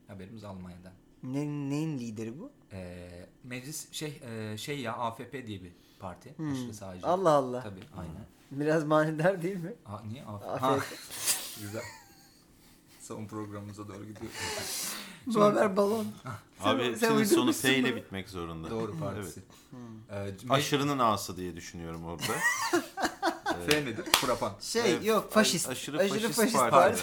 [SPEAKER 1] Haberimiz Almanya'dan.
[SPEAKER 2] Ne, neyin lideri bu?
[SPEAKER 1] Ee, meclis şey e, şey ya AFP diye bir parti.
[SPEAKER 2] Hmm.
[SPEAKER 1] Aşırı sağcı.
[SPEAKER 2] Allah Allah.
[SPEAKER 1] Tabii aynen.
[SPEAKER 2] Biraz manidar değil mi?
[SPEAKER 1] Aa, niye AFP?
[SPEAKER 2] AFP.
[SPEAKER 1] Ha, Güzel. Son programımıza doğru gidiyoruz.
[SPEAKER 2] Bu haber balon.
[SPEAKER 3] Abi
[SPEAKER 2] sen
[SPEAKER 3] hepsinin sonu
[SPEAKER 2] uydurmuşsun
[SPEAKER 3] T ile
[SPEAKER 2] bunu.
[SPEAKER 3] bitmek zorunda.
[SPEAKER 1] doğru partisi. Ee,
[SPEAKER 3] Evet.
[SPEAKER 2] Hmm.
[SPEAKER 1] Evet.
[SPEAKER 3] Aşırının ağası diye düşünüyorum orada.
[SPEAKER 1] F nedir? Kurapan.
[SPEAKER 2] Şey
[SPEAKER 3] Evet,
[SPEAKER 2] yok faşist.
[SPEAKER 3] a-
[SPEAKER 2] Aşırı, faşist,
[SPEAKER 3] parti.
[SPEAKER 2] parti.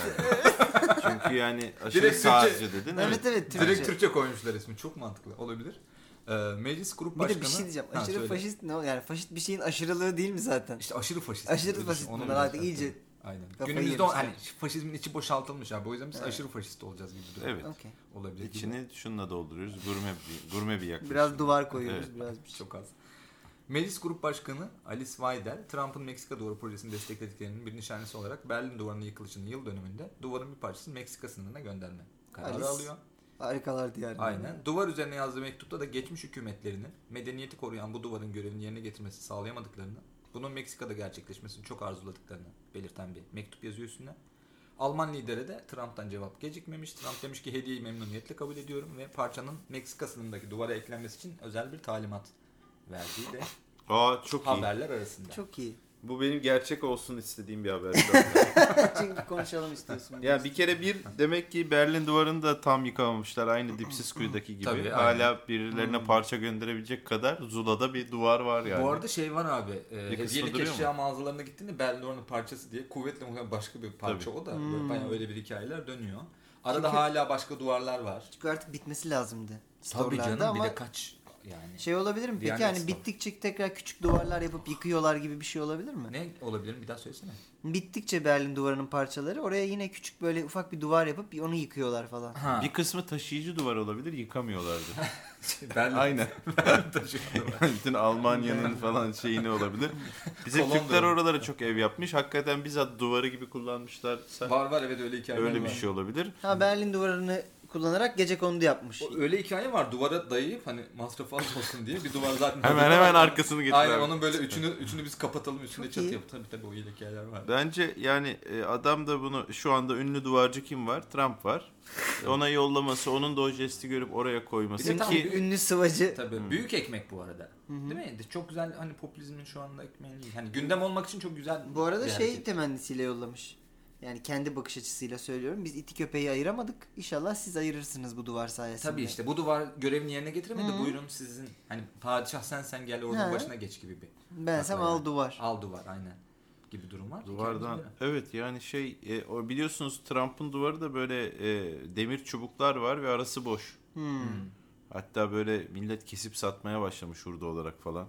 [SPEAKER 3] Çünkü yani aşırı
[SPEAKER 1] Direkt
[SPEAKER 3] sağcı dedin. mi?
[SPEAKER 2] Evet evet Türkçe.
[SPEAKER 1] Direkt Türkçe koymuşlar ismi. Çok mantıklı. Olabilir. Ee, meclis grup
[SPEAKER 2] bir
[SPEAKER 1] başkanı.
[SPEAKER 2] de bir şey diyeceğim.
[SPEAKER 1] Ha,
[SPEAKER 2] Aşırı
[SPEAKER 1] söyle.
[SPEAKER 2] faşist ne o? Yani faşist bir şeyin aşırılığı değil mi zaten?
[SPEAKER 1] İşte aşırı faşist.
[SPEAKER 2] Aşırı
[SPEAKER 1] Öyle şey.
[SPEAKER 2] faşist
[SPEAKER 1] düşün, onu
[SPEAKER 2] bunlar
[SPEAKER 1] bile
[SPEAKER 2] artık
[SPEAKER 1] zaten.
[SPEAKER 2] iyice.
[SPEAKER 1] Aynen.
[SPEAKER 2] Kafayı
[SPEAKER 1] Günümüzde o-
[SPEAKER 2] yemişler.
[SPEAKER 1] hani faşizmin içi boşaltılmış abi. O yüzden biz aşırı faşist olacağız gibi duruyor.
[SPEAKER 3] Evet.
[SPEAKER 2] Okey.
[SPEAKER 1] Olabilir. gibi.
[SPEAKER 3] İçini şununla dolduruyoruz. Gurme bir, gurme bir yaklaşım.
[SPEAKER 2] Biraz duvar koyuyoruz
[SPEAKER 3] Evet.
[SPEAKER 2] biraz bir şey.
[SPEAKER 1] Çok az. Meclis Grup Başkanı Alice Weidel, Trump'ın Meksika Duvarı projesini desteklediklerinin bir nişanesi olarak Berlin Duvarı'nın yıkılışının yıl dönümünde duvarın bir parçasını Meksika sınırına gönderme kararı
[SPEAKER 2] Alice.
[SPEAKER 1] alıyor.
[SPEAKER 2] Harikalar diyarı.
[SPEAKER 1] Aynen. Duvar üzerine yazdığı mektupta da geçmiş hükümetlerinin medeniyeti koruyan bu duvarın görevini yerine getirmesi sağlayamadıklarını, bunun Meksika'da gerçekleşmesini çok arzuladıklarını belirten bir mektup yazıyor üstüne. Alman lidere de Trump'tan cevap gecikmemiş. Trump demiş ki hediyeyi memnuniyetle kabul ediyorum ve parçanın Meksika sınırındaki duvara eklenmesi için özel bir talimat verdiği de
[SPEAKER 3] Aa çok iyi.
[SPEAKER 1] haberler arasında.
[SPEAKER 2] Çok iyi.
[SPEAKER 3] Bu benim gerçek olsun istediğim bir haber. şu anda.
[SPEAKER 2] Çünkü konuşalım istiyorsun.
[SPEAKER 3] ya bir kere bir demek ki Berlin duvarını da tam yıkamamışlar. Aynı dipsiz kuyudaki gibi.
[SPEAKER 1] Tabii,
[SPEAKER 3] Hala birilerine
[SPEAKER 2] Hmm.
[SPEAKER 3] parça gönderebilecek kadar Zula'da bir duvar var yani.
[SPEAKER 1] Bu arada şey var abi. E,
[SPEAKER 3] kısmı
[SPEAKER 1] hediyelik
[SPEAKER 3] duruyor
[SPEAKER 1] eşya mağazalarına gittiğinde Bellor'un parçası diye kuvvetle muhtemelen başka bir parça
[SPEAKER 3] Tabii.
[SPEAKER 1] o da. Böyle bayağı öyle bir hikayeler dönüyor. Arada
[SPEAKER 2] Hmm. Çünkü-
[SPEAKER 1] hala başka duvarlar var.
[SPEAKER 2] Çünkü artık bitmesi lazımdı.
[SPEAKER 1] Tabii
[SPEAKER 2] Storelarda
[SPEAKER 1] canım
[SPEAKER 2] ama
[SPEAKER 1] bir de kaç yani.
[SPEAKER 2] şey olabilir mi? Peki
[SPEAKER 1] Diyanet
[SPEAKER 2] hani
[SPEAKER 1] Store.
[SPEAKER 2] bittikçe tekrar küçük duvarlar yapıp yıkıyorlar gibi bir şey olabilir mi?
[SPEAKER 1] Ne olabilir bir daha söylesene.
[SPEAKER 2] Bittikçe Berlin duvarının parçaları oraya yine küçük böyle ufak bir duvar yapıp onu yıkıyorlar falan.
[SPEAKER 1] Ha.
[SPEAKER 3] Bir kısmı taşıyıcı duvar olabilir yıkamıyorlardı.
[SPEAKER 1] Berlin
[SPEAKER 3] Aynen.
[SPEAKER 1] taşıyor.
[SPEAKER 3] Bütün Almanya'nın falan şeyini olabilir. Bize
[SPEAKER 1] Kolon da
[SPEAKER 3] Türkler
[SPEAKER 1] olur.
[SPEAKER 3] oralara çok ev yapmış. Hakikaten bizzat duvarı gibi kullanmışlarsa
[SPEAKER 1] var var evet öyle hikayeler
[SPEAKER 3] öyle
[SPEAKER 1] var.
[SPEAKER 3] bir şey olabilir.
[SPEAKER 2] Ha Berlin duvarını kullanarak gece kondu yapmış.
[SPEAKER 1] O Öyle hikaye var duvara dayayıp hani masraf az olsun diye bir duvar zaten.
[SPEAKER 3] Hemen hemen arkasını getir
[SPEAKER 1] Aynen
[SPEAKER 3] abi.
[SPEAKER 1] onun böyle üçünü üçünü biz kapatalım üstüne
[SPEAKER 2] Çok
[SPEAKER 1] çatı
[SPEAKER 2] iyi.
[SPEAKER 1] yapalım. Tabii tabii o iyi hikayeler var.
[SPEAKER 3] Bence yani e, adam da bunu şu anda ünlü duvarcı kim var? Trump var. E, Ona yollaması, onun da o jesti görüp oraya
[SPEAKER 1] Bir de
[SPEAKER 3] koyması
[SPEAKER 1] tam
[SPEAKER 3] ki
[SPEAKER 1] bir-
[SPEAKER 2] Ünlü sıvacı
[SPEAKER 1] Tabii büyük ekmek bu arada. Değil mi? De Çok güzel hani popülizmin şu anda ekmeği. Hani gündem olmak için çok güzel.
[SPEAKER 2] Bu arada
[SPEAKER 1] bir
[SPEAKER 2] şey
[SPEAKER 1] hareket.
[SPEAKER 2] temennisiyle yollamış. Yani kendi bakış açısıyla söylüyorum. Biz iti köpeği ayıramadık. İnşallah siz ayırırsınız bu duvar sayesinde.
[SPEAKER 1] Tabii işte bu duvar görevini yerine getiremedi. Buyurun sizin hani padişah sen sen gel ordunun
[SPEAKER 2] Ha.
[SPEAKER 1] başına geç gibi bir.
[SPEAKER 2] Bensem
[SPEAKER 1] Haklı
[SPEAKER 2] al
[SPEAKER 1] yani.
[SPEAKER 2] duvar.
[SPEAKER 1] Al duvar aynen gibi durum var.
[SPEAKER 3] duvardan
[SPEAKER 1] Hikayemiz
[SPEAKER 3] evet yani şey e, o biliyorsunuz Trump'ın duvarı da böyle e, demir çubuklar var ve arası boş.
[SPEAKER 2] Hmm.
[SPEAKER 1] Hmm.
[SPEAKER 3] Hatta böyle millet kesip satmaya başlamış hurda olarak falan.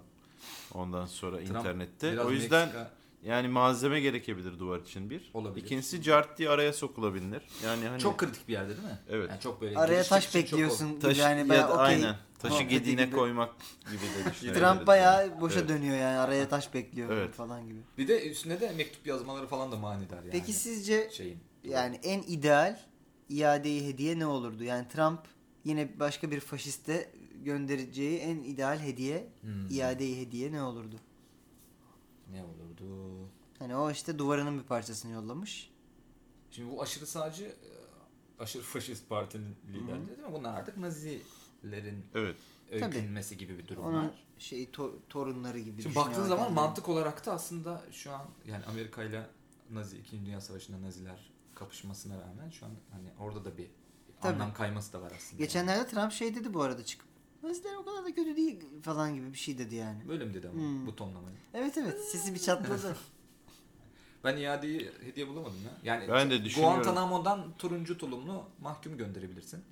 [SPEAKER 3] Ondan sonra
[SPEAKER 1] Trump
[SPEAKER 3] internette.
[SPEAKER 1] biraz
[SPEAKER 3] o yüzden
[SPEAKER 1] Meksika-
[SPEAKER 3] yani malzeme gerekebilir duvar için bir.
[SPEAKER 1] Olabilir.
[SPEAKER 3] İkincisi cart diye araya sokulabilir. Yani hani
[SPEAKER 1] çok kritik bir yerde değil mi?
[SPEAKER 3] Evet.
[SPEAKER 1] Yani çok böyle
[SPEAKER 2] Araya
[SPEAKER 1] giriş
[SPEAKER 2] taş
[SPEAKER 1] çıkışı çok
[SPEAKER 2] bekliyorsun. gibi
[SPEAKER 3] taşı
[SPEAKER 2] yani
[SPEAKER 3] ya
[SPEAKER 2] bayağı
[SPEAKER 3] da
[SPEAKER 2] okey.
[SPEAKER 3] aynen taşı
[SPEAKER 2] muhabbeti
[SPEAKER 3] gediğine
[SPEAKER 2] gibi.
[SPEAKER 3] koymak gibi de düşünebiliriz.
[SPEAKER 2] Trump bayağı boşa
[SPEAKER 3] Evet.
[SPEAKER 2] dönüyor yani. Araya taş bekliyor
[SPEAKER 3] Evet.
[SPEAKER 2] falan gibi.
[SPEAKER 1] ol. Bir de üstüne de mektup yazmaları falan da manidar yani.
[SPEAKER 2] Peki sizce
[SPEAKER 1] şeyin.
[SPEAKER 2] yani en ideal iadeyi hediye ne olurdu? Yani Trump yine başka bir faşiste göndereceği en ideal hediye
[SPEAKER 1] Hmm.
[SPEAKER 2] iadeyi hediye ne olurdu?
[SPEAKER 1] ne olurdu?
[SPEAKER 2] Hani o işte duvarının bir parçasını yollamış.
[SPEAKER 1] Şimdi bu aşırı sağcı e, aşırı faşist partinin liderleri değil mi? Bunlar artık Nazilerin
[SPEAKER 3] Evet.
[SPEAKER 1] öykünmesi gibi bir durum
[SPEAKER 2] Onun
[SPEAKER 1] var.
[SPEAKER 2] şey to- torunları gibi
[SPEAKER 1] Şimdi
[SPEAKER 2] düşünüyor
[SPEAKER 1] baktığın zaman
[SPEAKER 2] kendini.
[SPEAKER 1] mantık olarak da aslında şu an yani Amerika ile Nazi 2. Dünya Savaşı'nda Naziler kapışmasına rağmen şu an hani orada da bir
[SPEAKER 2] Tabii.
[SPEAKER 1] anlam kayması da var aslında.
[SPEAKER 2] Geçenlerde Trump şey dedi bu arada çıkıp. Naziler o kadar da kötü değil falan gibi bir şey dedi yani.
[SPEAKER 1] Böyle mi dedi ama
[SPEAKER 2] Hmm.
[SPEAKER 1] bu tonlamayı?
[SPEAKER 2] Evet evet sesi bir çatladı.
[SPEAKER 1] Ben iadeyi hediye bulamadım ya. Yani
[SPEAKER 3] Ben de düşünüyorum.
[SPEAKER 1] Guantanamo'dan turuncu tulumlu mahkum gönderebilirsin.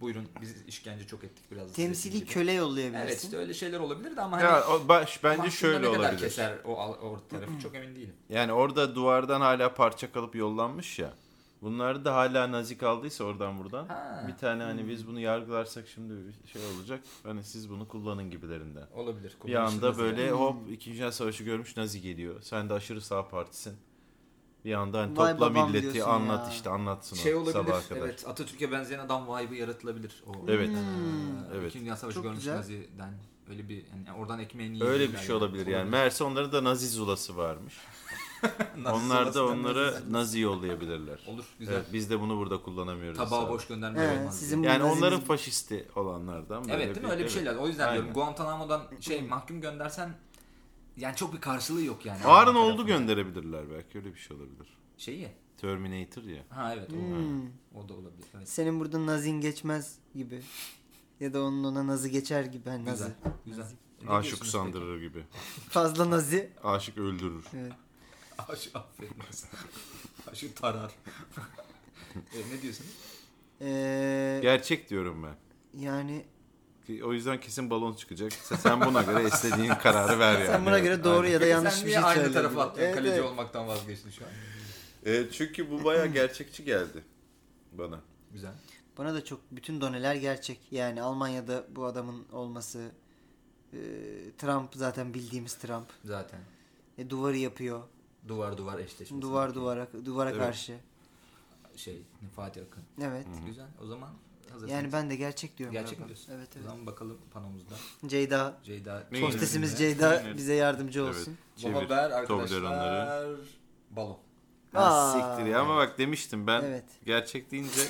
[SPEAKER 1] Buyurun biz işkence çok ettik biraz. da sizin
[SPEAKER 2] Hmm. Temsili
[SPEAKER 1] gibi.
[SPEAKER 2] köle
[SPEAKER 1] Evet
[SPEAKER 2] yollayabilirsin.
[SPEAKER 1] işte öyle şeyler olabilir de ama hani
[SPEAKER 3] Ya, o baş, bence
[SPEAKER 1] Mahkumda
[SPEAKER 3] şöyle
[SPEAKER 1] ne kadar
[SPEAKER 3] olabilir.
[SPEAKER 1] keser o, al- o tarafı çok emin değilim.
[SPEAKER 3] Yani orada duvardan hala parça kalıp yollanmış ya. Bunlar da hala nazik aldıysa oradan buradan.
[SPEAKER 1] Ha.
[SPEAKER 3] Bir tane hani biz bunu yargılarsak şimdi bir şey olacak. Hani siz bunu kullanın gibilerinden.
[SPEAKER 1] Olabilir.
[SPEAKER 3] Bir anda böyle
[SPEAKER 1] Hmm.
[SPEAKER 3] hop 2. Dünya Savaşı görmüş Nazi geliyor. Sen de aşırı sağ partisin. Bir anda hani
[SPEAKER 2] Vay
[SPEAKER 3] topla
[SPEAKER 2] babam
[SPEAKER 3] milleti
[SPEAKER 2] diyorsun
[SPEAKER 3] anlat
[SPEAKER 2] ya.
[SPEAKER 3] işte anlatsın o
[SPEAKER 1] şey olabilir.
[SPEAKER 3] sabaha kadar.
[SPEAKER 1] Evet Atatürk'e benzeyen adam vibe'ı yaratılabilir. O,
[SPEAKER 3] Evet.
[SPEAKER 1] Ee,
[SPEAKER 3] Evet.
[SPEAKER 1] İkinci Dünya Savaşı
[SPEAKER 2] Çok
[SPEAKER 1] görmüş
[SPEAKER 2] güzel.
[SPEAKER 1] Nazi'den. Öyle bir yani oradan ekmeğini yiyen
[SPEAKER 3] Öyle bir
[SPEAKER 1] yerler
[SPEAKER 3] şey olabilir yani. Meğerse onların da Nazi zulası varmış.
[SPEAKER 1] Nazi
[SPEAKER 3] Onlar da
[SPEAKER 1] sonrasında
[SPEAKER 3] onlara
[SPEAKER 1] Nazi-
[SPEAKER 3] Nazi yollayabilirler.
[SPEAKER 1] Olur güzel.
[SPEAKER 3] Evet, biz de bunu burada kullanamıyoruz.
[SPEAKER 1] Tabağı
[SPEAKER 3] abi.
[SPEAKER 1] boş gönderme
[SPEAKER 2] Evet,
[SPEAKER 1] olmaz.
[SPEAKER 2] sizin
[SPEAKER 1] diye.
[SPEAKER 2] bu
[SPEAKER 3] Yani
[SPEAKER 2] Nazimiz-
[SPEAKER 3] onların faşisti olanlardan böyle
[SPEAKER 1] Evet değil mi? Öyle bir
[SPEAKER 3] evet.
[SPEAKER 1] şeyler. O yüzden diyorum
[SPEAKER 3] Aynen.
[SPEAKER 1] Guantanamo'dan şey mahkum göndersen yani çok bir karşılığı yok yani.
[SPEAKER 3] Ağrın
[SPEAKER 1] Tarafı.
[SPEAKER 3] oldu gönderebilirler belki öyle bir şey olabilir.
[SPEAKER 1] Şeyi
[SPEAKER 3] Terminator ya.
[SPEAKER 1] Ha evet o,
[SPEAKER 2] Hmm.
[SPEAKER 1] o da olabilir. Evet.
[SPEAKER 2] Senin burada nazin geçmez gibi. Ya da onun ona nazı geçer gibi. Hani
[SPEAKER 1] Güzel.
[SPEAKER 2] nazı.
[SPEAKER 1] Güzel. Ne
[SPEAKER 3] Aşık
[SPEAKER 1] diyorsunuz
[SPEAKER 3] usandırır gibi.
[SPEAKER 2] Fazla nazi.
[SPEAKER 3] Aşık öldürür.
[SPEAKER 2] Evet.
[SPEAKER 1] peki? Aşık aferin. Aşık tarar. e, ne diyorsunuz?
[SPEAKER 2] Ee,
[SPEAKER 3] Gerçek diyorum ben.
[SPEAKER 2] yani
[SPEAKER 3] Ki O yüzden kesin balon çıkacak. Sen- Sen buna göre istediğin kararı ver yani.
[SPEAKER 2] sen buna göre doğru ya da yanlış
[SPEAKER 1] Sen
[SPEAKER 2] bir
[SPEAKER 1] niye
[SPEAKER 2] şey
[SPEAKER 1] aynı
[SPEAKER 2] söyledin.
[SPEAKER 1] tarafa attın?
[SPEAKER 2] Evet,
[SPEAKER 1] Kaleci
[SPEAKER 2] evet.
[SPEAKER 1] olmaktan vazgeçtin şu an.
[SPEAKER 3] E, çünkü bu baya gerçekçi geldi bana.
[SPEAKER 1] Güzel.
[SPEAKER 2] Bana da çok bütün doneler gerçek. Yani Almanya'da bu adamın olması e, Trump zaten bildiğimiz Trump.
[SPEAKER 1] Zaten.
[SPEAKER 2] E, duvarı yapıyor.
[SPEAKER 1] Duvar duvar eşleşmesi.
[SPEAKER 2] Duvar duvara duvara
[SPEAKER 3] Evet.
[SPEAKER 2] karşı.
[SPEAKER 1] Şey Fatih Akın.
[SPEAKER 2] Evet.
[SPEAKER 1] Güzel. O zaman hazır.
[SPEAKER 2] Yani ben de gerçek diyorum.
[SPEAKER 1] Hmm. Gerçek
[SPEAKER 2] galiba.
[SPEAKER 1] mi diyorsun?
[SPEAKER 2] Evet
[SPEAKER 1] O
[SPEAKER 2] evet.
[SPEAKER 1] zaman bakalım panomuzda.
[SPEAKER 2] Ceyda.
[SPEAKER 1] Ceyda.
[SPEAKER 3] Ne
[SPEAKER 2] Hostesimiz
[SPEAKER 1] Çevirinde.
[SPEAKER 2] Ceyda bize yardımcı
[SPEAKER 3] Evet.
[SPEAKER 2] olsun.
[SPEAKER 3] Çevir.
[SPEAKER 1] Baba Ber
[SPEAKER 3] Toblerone'ları.
[SPEAKER 1] arkadaşlar. Balon.
[SPEAKER 3] Ha,
[SPEAKER 2] Aa.
[SPEAKER 3] siktir ya ama bak demiştim ben
[SPEAKER 2] Evet.
[SPEAKER 3] gerçek deyince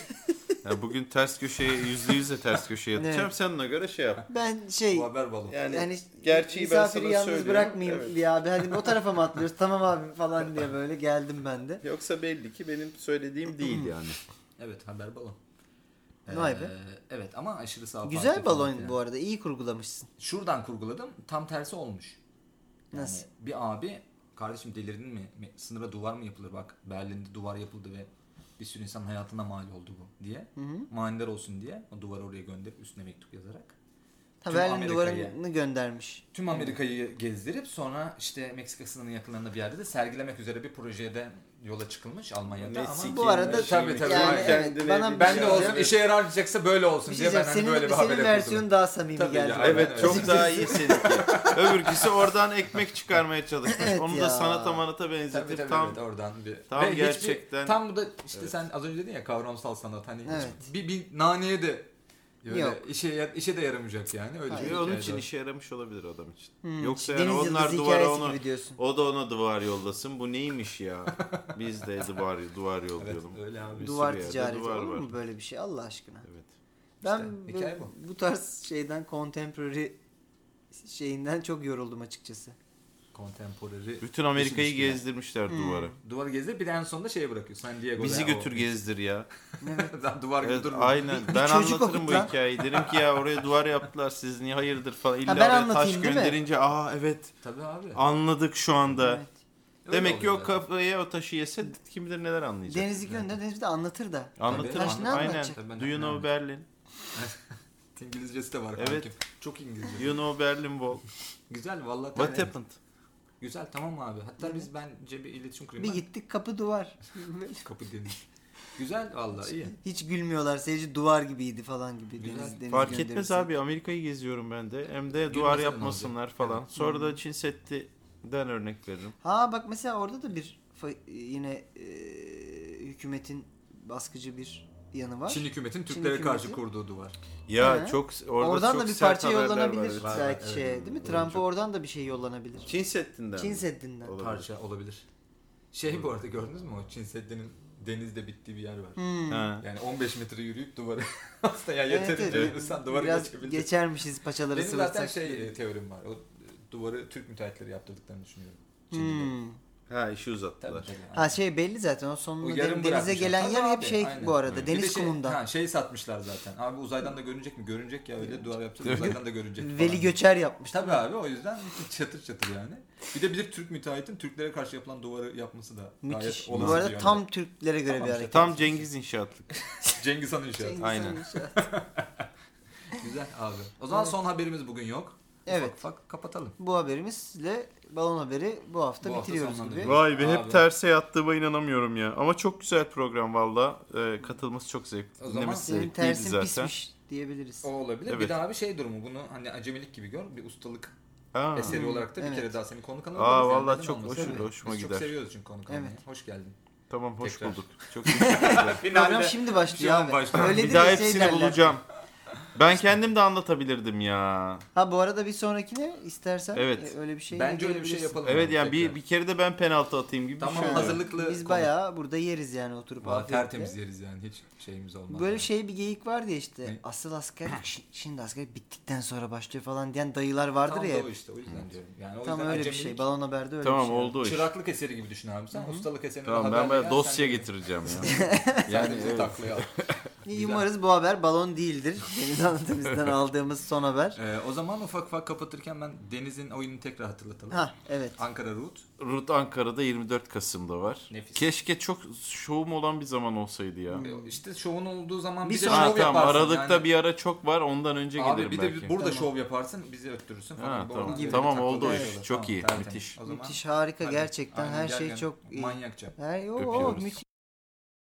[SPEAKER 3] ya bugün ters köşeye yüzde yüze ters köşeye
[SPEAKER 2] Evet.
[SPEAKER 3] atacağım. Sen ona göre şey yap.
[SPEAKER 2] Ben şey
[SPEAKER 1] Bu haber balon.
[SPEAKER 3] Yani,
[SPEAKER 2] yani
[SPEAKER 3] gerçeği ben
[SPEAKER 2] misafiri
[SPEAKER 3] sana
[SPEAKER 2] yalnız
[SPEAKER 3] söylüyorum.
[SPEAKER 2] bırakmayayım
[SPEAKER 3] Evet.
[SPEAKER 2] diye abi. Hadi o tarafa mı atlıyoruz? tamam abi falan diye böyle geldim ben de.
[SPEAKER 3] Yoksa belli ki benim söylediğim değil yani.
[SPEAKER 1] Evet haber balon. Ee,
[SPEAKER 2] Vay be.
[SPEAKER 1] Evet ama aşırı sağ
[SPEAKER 2] Güzel
[SPEAKER 1] parti falan
[SPEAKER 2] balon
[SPEAKER 1] filan.
[SPEAKER 2] bu arada. iyi kurgulamışsın.
[SPEAKER 1] Şuradan kurguladım tam tersi olmuş. Yani
[SPEAKER 2] Nasıl?
[SPEAKER 1] Bir abi kardeşim delirdin mi? Mi- Sınıra duvar mı yapılır bak Berlin'de duvar yapıldı ve bir sürü insan hayatına mal oldu bu diye. Manidar olsun diye o duvarı oraya gönderip üstüne mektup yazarak.
[SPEAKER 2] Ha,
[SPEAKER 1] Tüm
[SPEAKER 2] Berlin
[SPEAKER 1] Amerika'yı.
[SPEAKER 2] duvarını göndermiş.
[SPEAKER 1] Tüm Amerika'yı gezdirip sonra işte Meksika sınırının yakınlarında bir yerde de sergilemek üzere bir projede yola çıkılmış Almanya'da ama
[SPEAKER 3] Meksika-
[SPEAKER 2] Bu arada şey
[SPEAKER 1] Tabii, tabii,
[SPEAKER 2] yani
[SPEAKER 1] aynen.
[SPEAKER 2] evet,
[SPEAKER 3] Kendine
[SPEAKER 2] bana şey
[SPEAKER 3] bir- şey
[SPEAKER 1] ben de olsun
[SPEAKER 3] Evet.
[SPEAKER 1] işe yarayacaksa böyle olsun
[SPEAKER 2] Bir şey
[SPEAKER 1] diye ben
[SPEAKER 2] diyeceğim. Senin,
[SPEAKER 1] hani böyle bir
[SPEAKER 2] senin
[SPEAKER 1] haber yapıyordum.
[SPEAKER 2] versiyonu daha samimi
[SPEAKER 1] Tabii
[SPEAKER 2] geldi.
[SPEAKER 1] ya,
[SPEAKER 2] bana.
[SPEAKER 3] Evet
[SPEAKER 1] Evet.
[SPEAKER 3] çok daha iyi seninki. Öbürküsü oradan ekmek çıkarmaya çalışmış.
[SPEAKER 2] Evet
[SPEAKER 3] Onu
[SPEAKER 2] ya.
[SPEAKER 3] da sanata manata benzetip
[SPEAKER 1] Tabii tabii
[SPEAKER 3] tam
[SPEAKER 1] evet, oradan bir.
[SPEAKER 3] tam
[SPEAKER 1] hiçbir-
[SPEAKER 3] gerçekten-
[SPEAKER 1] tam bu da işte sen az önce dedin ya kavramsal sanat hani hiç-
[SPEAKER 2] Evet.
[SPEAKER 1] bir, bir naneye de öyle
[SPEAKER 2] Yok.
[SPEAKER 1] işe ya- işe de yaramayacak yani öyle
[SPEAKER 2] Hayır.
[SPEAKER 1] bir
[SPEAKER 3] Ve onun
[SPEAKER 1] hikaye
[SPEAKER 3] için
[SPEAKER 1] var.
[SPEAKER 3] işe yaramış olabilir adam için.
[SPEAKER 2] Hmm,
[SPEAKER 3] Yoksa
[SPEAKER 2] Deniz
[SPEAKER 3] yani onlar
[SPEAKER 2] Yıldızı
[SPEAKER 3] duvara
[SPEAKER 2] hikayesi
[SPEAKER 3] onu
[SPEAKER 2] gibi diyorsun.
[SPEAKER 3] o da ona duvar yollasın. Bu neymiş ya? Biz de duvar duvar
[SPEAKER 1] Evet,
[SPEAKER 3] yollayalım.
[SPEAKER 1] öyle abi.
[SPEAKER 3] Bir
[SPEAKER 2] Duvar
[SPEAKER 3] sürü yerde
[SPEAKER 2] ticareti
[SPEAKER 3] duvar
[SPEAKER 2] olur mu
[SPEAKER 3] var.
[SPEAKER 2] böyle bir şey Allah aşkına?
[SPEAKER 3] Evet.
[SPEAKER 2] Ben
[SPEAKER 1] İşte, hikaye
[SPEAKER 2] bu, bu tarz şeyden contemporary şeyinden çok yoruldum açıkçası.
[SPEAKER 1] Kontemporary.
[SPEAKER 3] Bütün Amerika'yı
[SPEAKER 1] Düşmüş ya.
[SPEAKER 3] gezdirmişler
[SPEAKER 2] Hmm.
[SPEAKER 3] duvara.
[SPEAKER 1] Duvarı gezdir bir de en sonunda şeye bırakıyor. San Diego'da.
[SPEAKER 3] Bizi
[SPEAKER 1] ya
[SPEAKER 3] götür
[SPEAKER 1] o-
[SPEAKER 3] gezdir ya.
[SPEAKER 1] Daha Duvar gibi
[SPEAKER 3] Evet,
[SPEAKER 1] durmuyor.
[SPEAKER 3] aynen.
[SPEAKER 2] bir
[SPEAKER 3] ben
[SPEAKER 2] çocuk
[SPEAKER 3] anlatırım bu
[SPEAKER 2] okut lan.
[SPEAKER 3] hikayeyi. Derim ki ya oraya duvar yaptılar siz niye hayırdır falan. İlla
[SPEAKER 2] ben
[SPEAKER 3] oraya taş
[SPEAKER 2] anlatayım, değil mi?
[SPEAKER 3] gönderince aa evet
[SPEAKER 1] Tabii abi.
[SPEAKER 3] anladık şu anda.
[SPEAKER 2] Evet.
[SPEAKER 1] Öyle
[SPEAKER 3] Demek ki o
[SPEAKER 1] oluyor zaten.
[SPEAKER 3] kafaya o taşı yese kim bilir neler anlayacak.
[SPEAKER 2] Deniz Gönlü Deniz bir de anlatır da.
[SPEAKER 3] Anlatır
[SPEAKER 1] Tabii,
[SPEAKER 3] mı?
[SPEAKER 1] taş ne
[SPEAKER 3] Aynen.
[SPEAKER 2] anlatacak?
[SPEAKER 1] Tabii,
[SPEAKER 3] Do
[SPEAKER 1] anlatır.
[SPEAKER 3] you know Berlin?
[SPEAKER 1] İngilizcesi de var.
[SPEAKER 3] Evet.
[SPEAKER 1] kankim. Çok İngilizce.
[SPEAKER 3] You know Berlin Wall.
[SPEAKER 1] Güzel vallahi.
[SPEAKER 3] What
[SPEAKER 1] tabii.
[SPEAKER 3] happened?
[SPEAKER 1] Güzel tamam abi. Hatta biz bence bir iletişim kurayım.
[SPEAKER 2] Bir
[SPEAKER 1] Ben-
[SPEAKER 2] gittik kapı duvar.
[SPEAKER 1] Kapı deniz. Güzel valla iyi.
[SPEAKER 2] Hiç gülmüyorlar. Seyirci duvar gibiydi falan gibi.
[SPEAKER 1] Güzel.
[SPEAKER 2] Deniz, Deniz
[SPEAKER 3] Fark
[SPEAKER 2] gönderirse.
[SPEAKER 3] etmez abi Amerika'yı geziyorum ben de. Hem de duvar
[SPEAKER 1] Gülmesen
[SPEAKER 3] yapmasınlar falan. Sonra da Çin Seddi'den örnek veririm.
[SPEAKER 2] Ha bak mesela orada da bir fa- yine e, hükümetin baskıcı bir yanı var.
[SPEAKER 1] Çin hükümetin
[SPEAKER 2] Çin
[SPEAKER 1] Türklere karşı
[SPEAKER 2] hükümeti.
[SPEAKER 1] kurduğu duvar.
[SPEAKER 3] Ya
[SPEAKER 2] Hı.
[SPEAKER 3] çok orada
[SPEAKER 2] oradan
[SPEAKER 3] çok
[SPEAKER 2] da bir
[SPEAKER 3] sert
[SPEAKER 2] parça
[SPEAKER 3] haberler var,
[SPEAKER 2] yollanabilir
[SPEAKER 3] evet.
[SPEAKER 1] Var,
[SPEAKER 2] belki
[SPEAKER 1] evet.
[SPEAKER 2] şeye değil mi?
[SPEAKER 1] Doğru,
[SPEAKER 2] Trump'a
[SPEAKER 1] çok-
[SPEAKER 2] oradan da bir şey yollanabilir.
[SPEAKER 3] Çin Seddi'nden.
[SPEAKER 2] Çin
[SPEAKER 3] mi?
[SPEAKER 2] Seddi'nden.
[SPEAKER 3] Olabilir.
[SPEAKER 1] Parça olabilir. Şey bu arada gördünüz mü o Çin Seddi'nin denizde bittiği bir yer var.
[SPEAKER 2] Hmm.
[SPEAKER 3] Ha.
[SPEAKER 1] Yani 15 metre yürüyüp duvarı aslında yani yeterince
[SPEAKER 2] Evet, evet.
[SPEAKER 1] yürürsen duvarı
[SPEAKER 2] Biraz
[SPEAKER 1] geçebildin.
[SPEAKER 2] geçermişiz paçaları
[SPEAKER 1] Benim zaten
[SPEAKER 2] sıvırsak.
[SPEAKER 1] şey e, teorim var. O e, duvarı Türk müteahhitleri yaptırdıklarını düşünüyorum. Çinlilerin.
[SPEAKER 2] Hmm.
[SPEAKER 3] ha işi
[SPEAKER 1] Tabii
[SPEAKER 3] uzattılar.
[SPEAKER 1] tabii.
[SPEAKER 2] Ha şey belli zaten o
[SPEAKER 1] O
[SPEAKER 2] sonunda
[SPEAKER 1] yarım
[SPEAKER 2] den- denize
[SPEAKER 1] bırakmışlar.
[SPEAKER 2] gelen yer
[SPEAKER 1] Tabii
[SPEAKER 2] hep
[SPEAKER 1] abi,
[SPEAKER 2] şey
[SPEAKER 1] aynen.
[SPEAKER 2] bu arada
[SPEAKER 3] Evet.
[SPEAKER 1] Bir de
[SPEAKER 2] deniz
[SPEAKER 1] şey-
[SPEAKER 2] kumundan.
[SPEAKER 1] Ha, şey satmışlar zaten. Abi uzaydan da görünecek mi? Görünecek ya öyle duvar yapacağız uzaydan da görünecek. falan
[SPEAKER 2] Veli
[SPEAKER 1] diye.
[SPEAKER 2] Göçer yapmış.
[SPEAKER 1] Tabii abi o yüzden çatır çatır yani. Bir de bir Türk müteahhitin Türklere karşı yapılan duvarı yapması da
[SPEAKER 2] Müthiş.
[SPEAKER 1] gayet
[SPEAKER 2] Bu
[SPEAKER 1] olası bir
[SPEAKER 2] arada
[SPEAKER 1] yöntem.
[SPEAKER 2] tam Türklere göre bir
[SPEAKER 1] Tamam şey, işte,
[SPEAKER 2] hareket. Şey,
[SPEAKER 3] Tam Cengiz İnşaatlık.
[SPEAKER 1] Cengiz Han inşaatı.
[SPEAKER 2] Cengiz
[SPEAKER 3] Aynen.
[SPEAKER 2] Han'ın şarkı.
[SPEAKER 1] Güzel abi. O zaman
[SPEAKER 2] Evet.
[SPEAKER 1] son haberimiz bugün yok.
[SPEAKER 2] Evet.
[SPEAKER 1] Ufak ufak kapatalım.
[SPEAKER 2] Bu haberimizle balon haberi bu hafta
[SPEAKER 1] Bu hafta
[SPEAKER 2] bitiriyoruz
[SPEAKER 1] sonlandırıyoruz.
[SPEAKER 2] gibi.
[SPEAKER 3] Vay be
[SPEAKER 1] Abi.
[SPEAKER 3] hep terse yattığıma inanamıyorum ya. Ama çok güzel program valla. Ee, katılması çok zevkli.
[SPEAKER 1] O zaman
[SPEAKER 3] Dinlemesi
[SPEAKER 2] Senin
[SPEAKER 3] zevkliydi
[SPEAKER 2] tersin
[SPEAKER 3] zaten.
[SPEAKER 2] pismiş diyebiliriz.
[SPEAKER 1] O olabilir. Bir
[SPEAKER 3] Evet.
[SPEAKER 1] daha bir şey durumu bunu hani acemilik gibi gör. Bir ustalık
[SPEAKER 3] Ha.
[SPEAKER 1] eseri olarak da bir
[SPEAKER 2] Hmm. Evet.
[SPEAKER 1] kere daha seni konuk alalım.
[SPEAKER 3] Aa,
[SPEAKER 1] Yani
[SPEAKER 3] vallahi
[SPEAKER 1] neden
[SPEAKER 3] çok
[SPEAKER 1] olmasın?
[SPEAKER 3] hoşum-
[SPEAKER 1] Tabii.
[SPEAKER 3] hoşuma
[SPEAKER 1] Biz çok
[SPEAKER 3] gider.
[SPEAKER 1] seviyoruz çünkü konuk almayı.
[SPEAKER 2] Evet.
[SPEAKER 1] Hoş geldin.
[SPEAKER 3] Tamam hoş
[SPEAKER 1] Tekrar.
[SPEAKER 3] bulduk. Çok teşekkür ederim.
[SPEAKER 2] Program şimdi başlıyor
[SPEAKER 1] Şu an
[SPEAKER 2] abi.
[SPEAKER 1] başlıyor.
[SPEAKER 2] Öyle
[SPEAKER 3] Bir daha
[SPEAKER 2] de şey
[SPEAKER 3] hepsini
[SPEAKER 2] derler.
[SPEAKER 3] bulacağım. Ben kendim de anlatabilirdim ya.
[SPEAKER 2] Ha bu arada bir sonrakine istersen
[SPEAKER 3] Evet.
[SPEAKER 2] e, öyle bir şey
[SPEAKER 1] Bence öyle bir şey
[SPEAKER 2] gelebilirsin.
[SPEAKER 1] yapalım.
[SPEAKER 3] Evet yani bir,
[SPEAKER 1] Tekrar.
[SPEAKER 3] bir kere de ben penaltı atayım gibi
[SPEAKER 1] Tamam
[SPEAKER 3] bir şey. Hazırlık.
[SPEAKER 1] hazırlıklı.
[SPEAKER 2] Biz
[SPEAKER 1] konu.
[SPEAKER 2] bayağı burada yeriz yani oturup
[SPEAKER 1] Vallahi
[SPEAKER 2] afiyetle.
[SPEAKER 1] tertemiz yeriz yani hiç şeyimiz olmaz.
[SPEAKER 2] Böyle
[SPEAKER 1] yani.
[SPEAKER 2] şey bir geyik vardı ya işte.
[SPEAKER 1] Ne?
[SPEAKER 2] Asıl asker şi- şimdi asker bittikten sonra başlıyor falan diyen dayılar vardır
[SPEAKER 1] Tam
[SPEAKER 2] ya.
[SPEAKER 1] da o işte o yüzden diyorum. Yani o
[SPEAKER 2] Tam
[SPEAKER 1] yüzden
[SPEAKER 2] öyle bir
[SPEAKER 1] acemilik-
[SPEAKER 2] şey. Balon haberde öyle bir
[SPEAKER 3] Tamam
[SPEAKER 2] şey.
[SPEAKER 3] oldu o iş.
[SPEAKER 1] Çıraklık eseri gibi düşün abi sen. Ustalık eserini
[SPEAKER 3] Tamam ben
[SPEAKER 1] haberle
[SPEAKER 3] böyle
[SPEAKER 1] gel,
[SPEAKER 3] dosya
[SPEAKER 1] sen de-
[SPEAKER 3] getireceğim ya.
[SPEAKER 1] sen de
[SPEAKER 3] yani
[SPEAKER 1] bizi
[SPEAKER 3] evet.
[SPEAKER 1] taklaya al.
[SPEAKER 2] İyi, Umarız bu haber balon değildir. Deniz anlatımızdan aldığımız son haber.
[SPEAKER 1] Ee, o zaman ufak ufak kapatırken ben Deniz'in oyununu tekrar hatırlatalım.
[SPEAKER 2] Ha evet.
[SPEAKER 1] Ankara Root.
[SPEAKER 3] Rut Ankara'da 24 Kasım'da var.
[SPEAKER 1] Nefis.
[SPEAKER 3] Keşke çok şovum olan bir zaman olsaydı ya.
[SPEAKER 1] İşte Ee, şovun olduğu zaman
[SPEAKER 2] Bir
[SPEAKER 1] bir, de
[SPEAKER 2] sonraki-
[SPEAKER 1] şov
[SPEAKER 3] Ha, tamam
[SPEAKER 1] yaparsın.
[SPEAKER 3] aralıkta
[SPEAKER 1] yani.
[SPEAKER 3] bir ara çok var ondan önce
[SPEAKER 1] Abi
[SPEAKER 3] gelirim
[SPEAKER 1] bir de
[SPEAKER 3] belki.
[SPEAKER 1] burada
[SPEAKER 2] Tamam.
[SPEAKER 1] şov yaparsın bizi öttürürsün falan.
[SPEAKER 3] Ha,
[SPEAKER 1] Bu
[SPEAKER 3] tamam.
[SPEAKER 1] oradan
[SPEAKER 2] Gibi.
[SPEAKER 1] böyle
[SPEAKER 3] Tamam,
[SPEAKER 1] takılıyor.
[SPEAKER 3] oldu o iş.
[SPEAKER 1] Evet,
[SPEAKER 3] Çok iyi,
[SPEAKER 1] tertemiz.
[SPEAKER 3] müthiş.
[SPEAKER 1] O zaman
[SPEAKER 2] Müthiş harika
[SPEAKER 1] hadi.
[SPEAKER 2] gerçekten
[SPEAKER 1] Aynen,
[SPEAKER 2] her şey
[SPEAKER 1] gerçekten
[SPEAKER 2] çok iyi.
[SPEAKER 1] Manyakça.
[SPEAKER 2] Her, o, o,
[SPEAKER 3] Öpüyoruz.
[SPEAKER 2] müthiş.